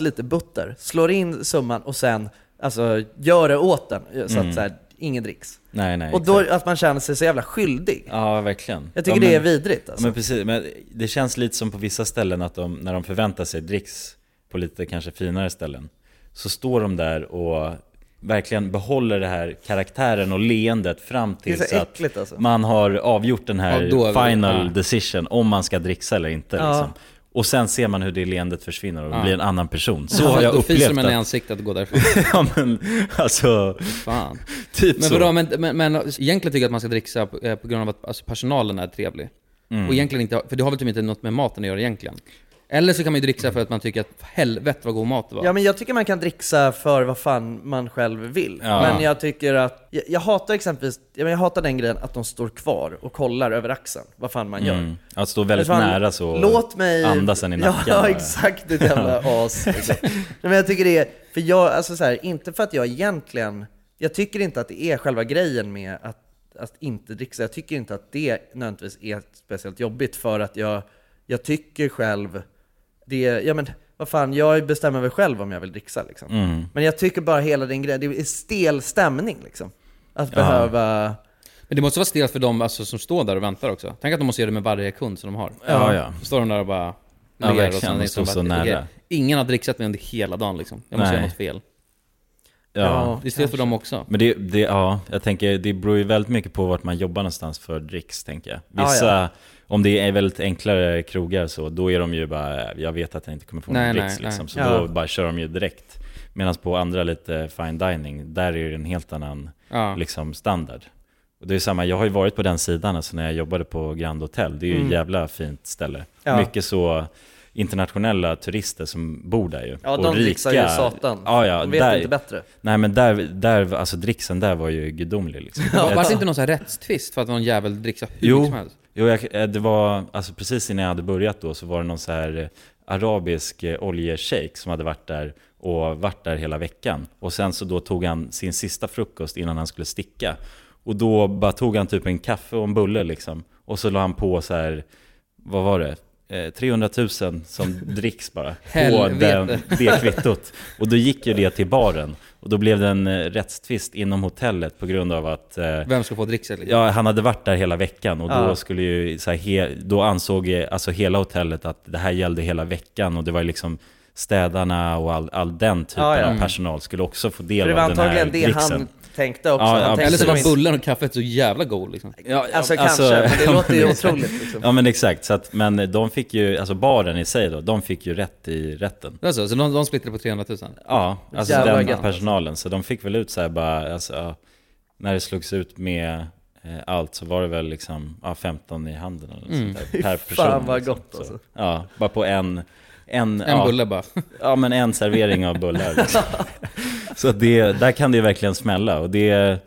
S3: lite butter, slår in summan och sen alltså, gör det åt den så att
S1: Mm.
S3: så här, ingen dricks.
S1: Nej, nej,
S3: och då att man känner sig så jävla skyldig.
S1: Ja, verkligen.
S3: Jag tycker
S1: ja,
S3: det är vidrigt, alltså.
S1: Ja, men precis, men det känns lite som på vissa ställen att de, när de förväntar sig dricks på lite kanske finare ställen, så står de där och verkligen behåller det här karaktären och leendet fram
S3: Det är
S1: tills
S3: så
S1: att
S3: äckligt alltså.
S1: man har avgjort den här
S3: Ja, då är vi-
S1: final
S3: ja.
S1: decision om man ska dricksa eller inte.
S3: Ja.
S1: Liksom. Och sen ser man hur det leendet försvinner och
S2: Ja.
S1: blir en annan person. Så
S2: Ja,
S1: har jag
S2: då fiser
S1: upplevt
S2: man i
S1: att-
S2: ansiktet och går därifrån.
S1: <laughs> ja men alltså...
S2: Fan.
S1: Typ
S2: men
S1: så.
S2: vadå, men, men, men egentligen tycker jag att man ska dricksa på, eh, på grund av att alltså, personalen är trevlig.
S1: Mm.
S2: Och egentligen inte, för det har väl typ inte något med maten att göra egentligen. Eller så kan man ju dricksa för att man tycker att helvete vad god mat det var.
S3: Ja men jag tycker man kan dricksa för vad fan man själv vill.
S2: Ja.
S3: Men jag tycker att, jag, jag hatar exempelvis, jag, men jag hatar den grejen att de står kvar och kollar över axeln vad fan man gör.
S1: Mm. Att stå väldigt
S3: Men fan,
S1: nära så och
S3: Låt mig...
S1: andas en i nacken
S3: Ja,
S1: bara.
S3: exakt, ditt jävla
S1: <laughs>
S3: as. Exakt. Nej, men jag tycker det är, för jag, alltså så här, inte för att jag egentligen, jag tycker inte att det är själva grejen med att, att inte dricksa. Jag tycker inte att det nödvändigtvis är speciellt jobbigt för att jag, jag tycker själv, det, ja men vad fan, jag bestämmer väl själv om jag vill dricksa liksom.
S1: Mm.
S3: Men jag tycker bara hela den grejen, det är stel stämning liksom. Att
S2: Ja.
S3: behöva...
S2: Men det måste vara stelt för dem alltså, som står där och väntar också. Tänk att de måste göra det med varje kund som de har.
S1: Ja, ja.
S2: Så står de där och bara
S1: Ja,
S2: ler
S1: verkligen,
S2: och sen
S1: de
S2: är det
S1: står
S2: som
S1: så
S2: bara,
S1: nära.
S2: okej, Ingen har dricksat mig under hela dagen liksom. Jag måste
S1: Nej.
S2: göra något fel.
S1: Ja,
S2: det är stelt för dem också.
S1: Men det, det, ja, jag tänker, det beror ju väldigt mycket på vart man jobbar någonstans för dricks, tänker jag. Vissa,
S2: Ja, ja.
S1: om det är väldigt enklare krogar så, då är de ju bara, jag vet att jag inte kommer få
S2: Nej,
S1: någon
S2: nej,
S1: dricks
S2: nej.
S1: liksom, så
S2: Ja.
S1: då bara kör de ju direkt. Medan på andra lite fine dining, där är det en helt annan
S2: Ja.
S1: liksom, standard. Och det är samma, jag har ju varit på den sidan alltså, när jag jobbade på Grand Hotel, det är ju
S3: Mm.
S1: ett jävla fint ställe.
S3: Ja.
S1: Mycket så internationella turister som bor där ju.
S3: Ja,
S1: och
S3: de
S1: rika.
S3: dricksar ju satan.
S1: Ja, ja,
S3: De vet
S1: där,
S3: inte bättre.
S1: Nej men där, där alltså dricksen där var ju gudomlig liksom.
S2: Ja.
S1: Jag-
S2: Var det inte någon sån här rättstvist för att någon jävel dricksade hur mycket
S1: jo,
S2: som helst?
S1: jo jag, eh, det var, alltså precis innan jag hade börjat då så var det någon så här eh, arabisk eh, oljeshejk som hade varit där och varit där hela veckan. Och sen så då tog han sin sista frukost innan han skulle sticka. Och då bara tog han typ en kaffe och en bulle liksom. Och så la han på så här, vad var det? Eh, 300 000
S2: <laughs>
S1: som dricks bara. på
S2: Helvete.
S1: den, det kvittot. Och då gick ju det till baren. Och då blev det en eh, rättstvist inom hotellet på grund av att... eh,
S2: Vem ska få drickset, liksom?
S1: Ja, han hade varit där hela veckan och
S2: Ja.
S1: då, skulle ju, så här, he, då ansåg ju, alltså, hela hotellet att det här gällde hela veckan och det var ju liksom städarna och all, all den typen
S3: Ja, ja.
S1: av personal skulle också få del
S3: För det var
S1: av den här
S3: antagligen det han
S1: dricksen.
S3: tänkte också. Han tänkte
S2: Eller så var
S3: precis.
S2: bullen och kaffet så jävla god liksom.
S3: Alltså, kanske, men det låter ju otroligt liksom.
S1: Ja men exakt, så att, men de fick ju, alltså baren i sig då, de fick ju rätt i rätten.
S2: Alltså, så de, de splittrade på 300 000?
S1: Ja, alltså
S2: Jävla
S1: den
S2: gött.
S1: personalen. Så de fick väl ut så här bara, alltså, ja, när det slogs ut med eh, allt så var det väl liksom ja, 15 i handen eller något
S2: Mm.
S1: sånt
S2: Fy
S1: där, per person.
S3: fan vad
S1: liksom.
S3: gott,
S1: Så,
S3: alltså.
S1: Ja, bara på en, en,
S2: En bulle bara.
S1: Ja, men en servering av bullar. Liksom. så det, där kan det ju verkligen smälla. Och det,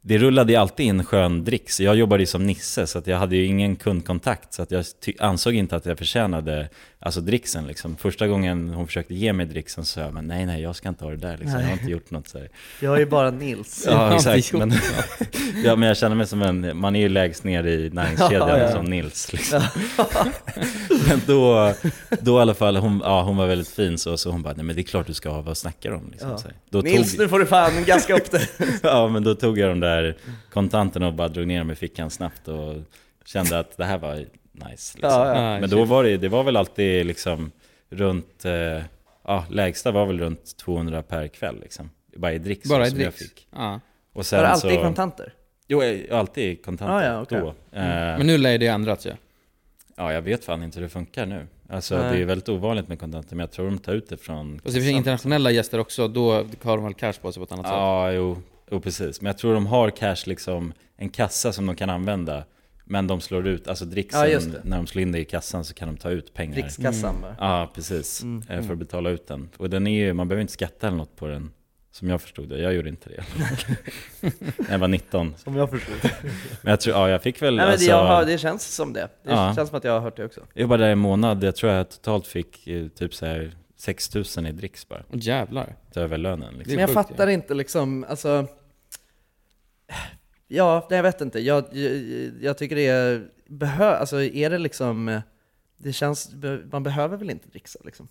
S1: det rullade ju alltid in skön dricks. Jag jobbade ju som Nisse, så att jag hade ju ingen kundkontakt. Så att jag ty- ansåg inte att jag förtjänade alltså, dricksen. Liksom. Första gången hon försökte ge mig dricksen så sa jag, men nej, nej, jag ska inte ha det där. Liksom. Jag har
S3: Nej.
S1: inte gjort något. Så här.
S3: Jag är ju bara Nils. Jag
S1: Ja,
S3: har inte
S1: exakt.
S3: gjort
S1: Men,
S3: något.
S1: <laughs> ja, men jag känner mig som en, man är ju lägst ner i
S3: <laughs>
S1: näringskedjan
S3: Ja, ja.
S1: som Nils. Liksom. <laughs> men då, då i alla fall, hon, ja, hon var väldigt fin så, så hon bara, nej men det är klart du ska ha, vad snackar du om? Liksom,
S3: Ja.
S1: så här. Då
S3: Nils, nu får du fan gaska upp det.
S1: <laughs> ja, men då tog jag de där kontanterna och bara drog ner dem i fickan snabbt och kände att det här var nice. Liksom.
S3: Ja, ja.
S1: Men då var det, det var väl alltid liksom runt, eh, ja, lägsta var väl runt 200 per kväll liksom. Bara i dricks
S2: Bara i
S1: som
S2: dricks.
S1: jag fick.
S2: Ja.
S1: Och sen
S3: Var det alltid
S1: så,
S3: kontanter?
S1: Jo, jag- alltid kontanter
S3: Ah, ja, okej.
S1: då.
S3: Mm.
S1: Eh,
S2: Men nu lär ju det ändrats ju.
S1: Ja, jag vet fan inte hur det funkar nu. Alltså
S2: Nej.
S1: det är väldigt ovanligt med kontanter, men jag tror de tar ut det från...
S2: Och så finns det internationella gäster också, då har de väl cash på sig på ett annat sätt.
S1: Ja, jo, jo, precis. Men jag tror de har cash, liksom en kassa som de kan använda. Men de slår ut, alltså
S3: Ja,
S1: dricksen,
S3: just det.
S1: när de slår in det i kassan så kan de ta ut pengar. Mm.
S3: Drickskassan, va?
S1: Ja, precis.
S3: Mm.
S1: eh, För att betala ut den. Och den är ju, man behöver inte skatta eller något på den. Som jag förstod det, jag gjorde
S3: <laughs>
S1: inte det. <laughs> När jag var 19.
S3: Som jag
S1: <laughs>
S3: förstod det.
S1: Men jag tror, ja jag fick väl
S3: Nej, men det,
S1: alltså,
S3: jag har, det känns som det. Det
S1: Ja.
S3: känns som att jag har hört det också.
S1: Jag var där en månad, jag tror jag totalt fick eh, typ så här 6 000 i dricks bara.
S2: Jävlar.
S1: Utöver lönen liksom.
S3: Men jag fattar inte liksom, alltså... Ja, nej, jag vet inte. Jag, jag, jag tycker det är... Behö, alltså är det liksom... Det känns... be- Man behöver väl inte dricksa liksom?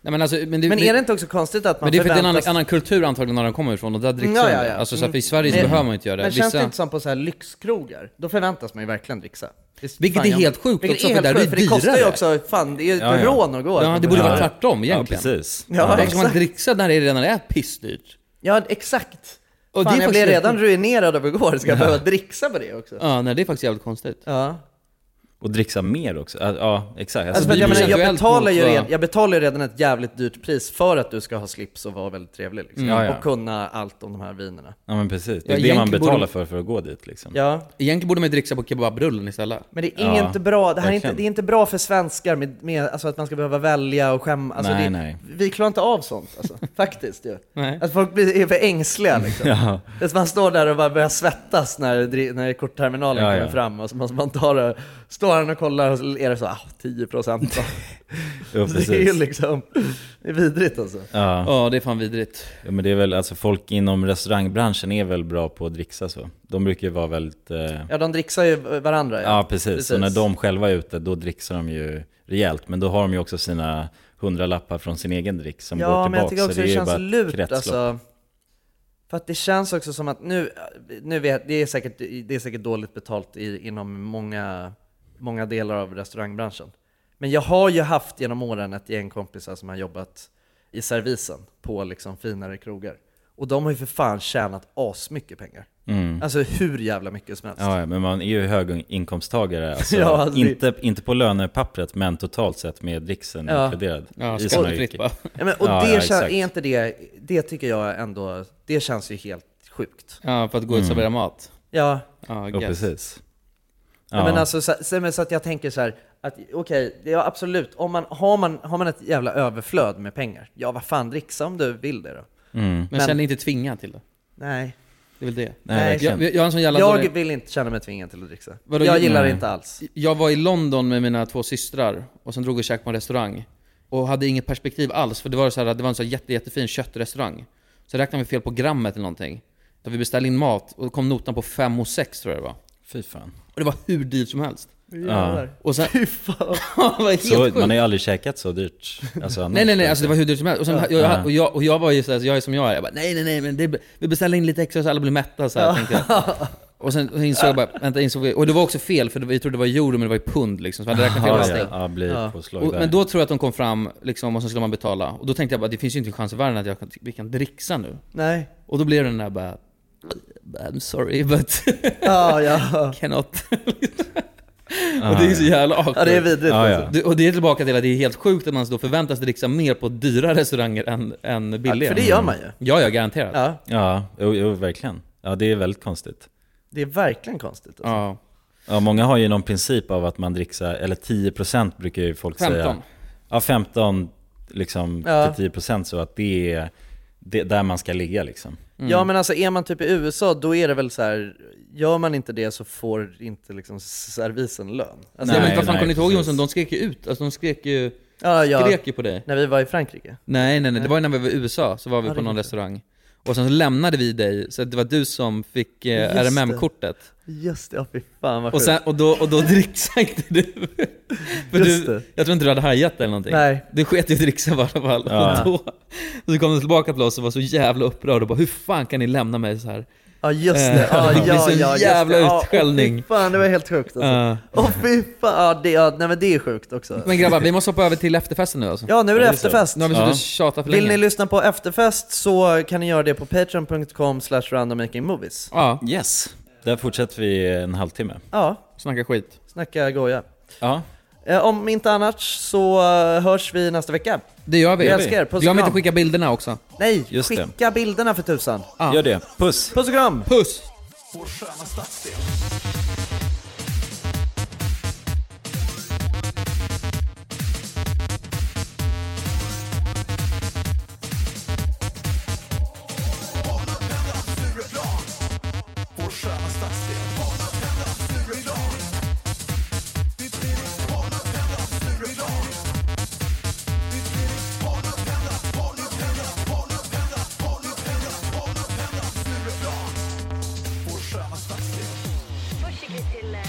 S2: Nej, men, alltså, men,
S3: Men är det inte också konstigt att man
S2: Men det är för att det är en annan,
S3: förväntas-
S2: annan kultur antagligen när de kommer ifrån och där dricks de. Alltså så att i Sverige så
S3: Men-
S2: behöver man ju inte göra det.
S3: Mm. Men känns det inte som på så här lyxkrogar? Då förväntas man ju verkligen dricksa. Det
S2: Vilket
S3: fan
S2: är
S3: jag-
S2: helt sjukt
S3: vilket
S2: också,
S3: är
S2: för
S3: helt
S2: där är det
S3: sjukt, för det kostar ju
S2: dyrare.
S3: också, fan det är ju ett rån att gå.
S2: Ja, det borde vara tvärtom egentligen.
S1: Ja, precis.
S3: Ja,
S2: Varför ska man
S3: exakt.
S2: dricksa när det redan är pissdyrt?
S3: Ja, exakt.
S2: Och
S3: fan,
S2: det är
S3: jag
S2: faktiskt
S3: blev
S2: helt
S3: redan
S2: sjukt.
S3: ruinerad av igår, ska jag
S2: Ja.
S3: behöva dricksa på det också?
S2: Ja, Alltså, nej det är faktiskt jävligt konstigt.
S3: Ja.
S1: Och dricksa mer också. Ja, Ja, exakt.
S3: Alltså, men
S1: det
S3: jag,
S1: blir-
S3: menar, jag, betalar ju
S1: mot vad-
S3: redan, jag betalar ju redan ett jävligt dyrt pris för att du ska ha slips och vara väldigt trevlig. Liksom.
S1: Mm. Ja, ja.
S3: Och kunna allt om de här vinerna.
S1: Ja men precis, det
S2: Ja,
S1: är det man
S2: egentligen borde-
S1: betalar för för att gå dit liksom.
S3: Ja.
S2: Egentligen borde man ju dricksa på kebabrullen istället.
S3: Men det är inte bra, det, här är inte,
S1: verkligen.
S3: det är inte bra för svenskar med, med, alltså att man ska behöva välja och skämma. Alltså
S1: Nej,
S3: det,
S1: nej.
S3: Vi klarar inte av sånt
S1: <laughs>
S3: alltså. faktiskt. Ju.
S2: Nej.
S3: Att folk blir, är för ängsliga. Liksom.
S1: Ja.
S3: Det är som man står där och bara börjar svettas när, dri- när kortterminalen
S1: Ja,
S3: kommer
S1: ja.
S3: fram. Och så måste man ta det, står han och kollar och så är det så ah, 10 procent. <laughs>
S1: Jo,
S3: det är ju
S1: precis.
S3: liksom, det är vidrigt alltså.
S1: Ja.
S2: ja, det är fan vidrigt.
S1: Ja, men det är väl, alltså folk inom restaurangbranschen är väl bra på att dricksa så. De brukar ju vara väldigt... Eh...
S3: Ja, de dricksar ju varandra.
S1: Ja, precis. Så när de själva är ute, då dricksar de ju rejält. Men då har de ju också sina hundralappar från sin egen drick som
S3: Ja,
S1: går tillbaka.
S3: men jag tycker också
S1: så
S3: det,
S1: är ju bara
S3: känns
S1: ett
S3: lurt
S1: kretslopp.
S3: alltså. För att det känns också som att nu, nu vet, det, är säkert, det är säkert dåligt betalt i, inom många, många delar av restaurangbranschen. Men jag har ju haft genom åren ett gäng kompisar som har jobbat i servisen på liksom finare krogar. Och de har ju för fan tjänat asmycket pengar.
S1: Mm.
S3: Alltså hur jävla mycket som helst.
S1: Ja, ja, men man är ju
S3: <laughs>
S1: höginkomsttagare. Alltså,
S3: Ja, alltså det-
S1: inte, inte på lönepappret, men totalt sett med dricksen
S3: Ja.
S1: inkluderad.
S3: Ja,
S1: i såna
S3: skattefritt
S1: yrken.
S3: bara. Ja, men, och
S1: Ja,
S3: det
S1: ja,
S3: kän-
S1: exakt.
S3: är inte det, det tycker jag ändå, det känns ju helt sjukt.
S2: Ja, för att gå ut och
S1: Mm.
S2: servera mat.
S3: Ja.
S2: Ja,
S1: Ja,
S2: guess.
S1: precis.
S3: Ja. Men alltså, så, så, men så att jag tänker så här, att okej, det ja, absolut, om man, har, man, har man ett jävla överflöd med pengar, ja vad fan, dricksa om du vill det då.
S1: Mm.
S2: Men, känn dig inte tvingad till det.
S3: Nej.
S2: Det är väl det.
S3: Nej, Nej. verkligen.
S2: jag, jag har en sån jävla
S3: Jag
S2: dålig-
S3: vill inte känna mig tvingad till att dricksa.
S2: Vadå,
S3: jag gillar det inte alls.
S2: Jag var i London med mina två systrar och sen drog vi och käkade på en restaurang. Och hade inget perspektiv alls, för det var, så här, det var en så här jätte, jättefin köttrestaurang. Så räknade vi fel på grammet eller någonting. Så vi beställde in mat och då kom notan på 5 och 6 tror jag det var.
S1: Fy fan.
S2: Och det var hur dyrt som helst.
S1: Jävlar.
S2: Och sen, <laughs>
S3: Fy fan.
S2: det var helt
S1: Så,
S2: sjukt.
S1: man har ju aldrig käkat så dyrt. Alltså,
S3: <laughs>
S1: annars.
S2: Nej nej nej, alltså det var hur dyrt som helst. Och, sen,
S1: Ja.
S2: jag,
S1: Ja.
S2: och, jag, och jag var ju såhär, så jag är som jag är. Jag bara, nej nej nej, men det, vi beställer in lite extra så alla blir mätta så här,
S3: Ja.
S2: tänkte jag. Och sen och insåg jag bara, vänta, insåg vi, och det var också fel för det var- vi trodde det var euro men det var ju pund liksom. Så vi hade räknat fel
S1: Ja,
S2: och
S1: ja,
S2: allting.
S1: ja, blir påslag
S2: och,
S1: där.
S2: Men då tror jag att de kom fram liksom, och så skulle man betala. Och då tänkte jag bara, det finns ju inte en chans i världen att jag kan, vi kan dricksa nu.
S3: Nej.
S2: Och då blev det den där bara, I'm sorry but... <laughs>
S3: Ja, ja.
S2: Cannot. och det är så jävla awkward.
S3: Ja, det är vidrigt Ja, ja. alltså.
S2: Det- Och det är tillbaka till att det är helt sjukt att man då förväntas dricksa mer på dyra restauranger än, än <laughs> billiga.
S3: för det gör man ju.
S2: Ja, ja, garanterat.
S3: Ja.
S1: Ja, jo, jo, verkligen. Ja, det är väldigt konstigt.
S3: Det är verkligen konstigt. Alltså.
S2: Ja.
S1: Ja, många har ju någon princip av att man dricksar, eller 10% brukar ju folk säga.
S2: 15.
S1: ja, 15 liksom,
S3: Ja.
S1: till 10% så att det är det, där man ska ligga liksom.
S2: Mm.
S3: Ja men alltså är man typ i USA, då är det väl så här. gör man inte det så får inte liksom servisen lön. Alltså,
S2: nej, men vad fan kommer ni ihåg Jonsson? De skrek ju ut, alltså de skrek ju,
S3: Ja, ja.
S2: skrek ju på dig.
S3: När vi var i Frankrike?
S2: Nej, nej, nej. Det
S3: Nej.
S2: var ju när vi var i USA, så var vi
S3: Ja, det
S2: på någon
S3: kanske.
S2: restaurang. Och sen så lämnade vi dig, så det var du som fick eh,
S3: Just det.
S2: RMM-kortet.
S3: Just det, ja fy fan vad
S2: Och, sen,
S3: sjukt.
S2: och då, och då <laughs> dricksänkte du. För
S3: Just
S2: du
S3: det.
S2: jag tror inte du hade hajat eller någonting.
S3: Nej.
S2: Du sket i att dricksa i alla fall.
S3: Ja.
S2: Och då, och så kom du tillbaka till oss och var så jävla upprörd och bara hur fan kan ni lämna mig så här?
S3: Ja just det, ja
S2: Eh, <laughs>
S3: ja
S2: det blir
S3: ja.
S2: sån
S3: just
S2: jävla
S3: det. Ja,
S2: utskällning.
S3: Åh fy fan det var helt sjukt
S2: Ja.
S3: alltså. Åh fy fan, ja, det, ja, nej men det är sjukt också.
S2: Men grabbar, vi måste hoppa över till efterfesten nu alltså.
S3: Ja, nu är det efterfest.
S2: Nu har vi suttit och tjatat för
S3: Vill
S2: länge.
S3: ni lyssna på efterfest så kan ni göra det på patreon.com slash randommakingmovies.
S2: Ja.
S1: Yes. Där fortsätter vi en halvtimme.
S3: Ja.
S2: Snacka skit.
S3: Snacka goja.
S1: Ja.
S3: Eh, Om inte annars så eh, hörs vi nästa vecka.
S2: Det gör vi.
S3: Jag älskar er. Puss och
S2: Glöm inte
S3: kram.
S2: att skicka bilderna också.
S3: Nej,
S2: Just det.
S3: skicka bilderna för tusan.
S1: Gör det. Puss.
S3: Puss och kram.
S2: Puss.
S20: Vår sköna stadsdel. Vår sköna stadsdel. Stureplan. Stureplan. Stureplan. Stureplan. Vår sköna stadsdel.
S5: Först gick vi till eh, eh, eh,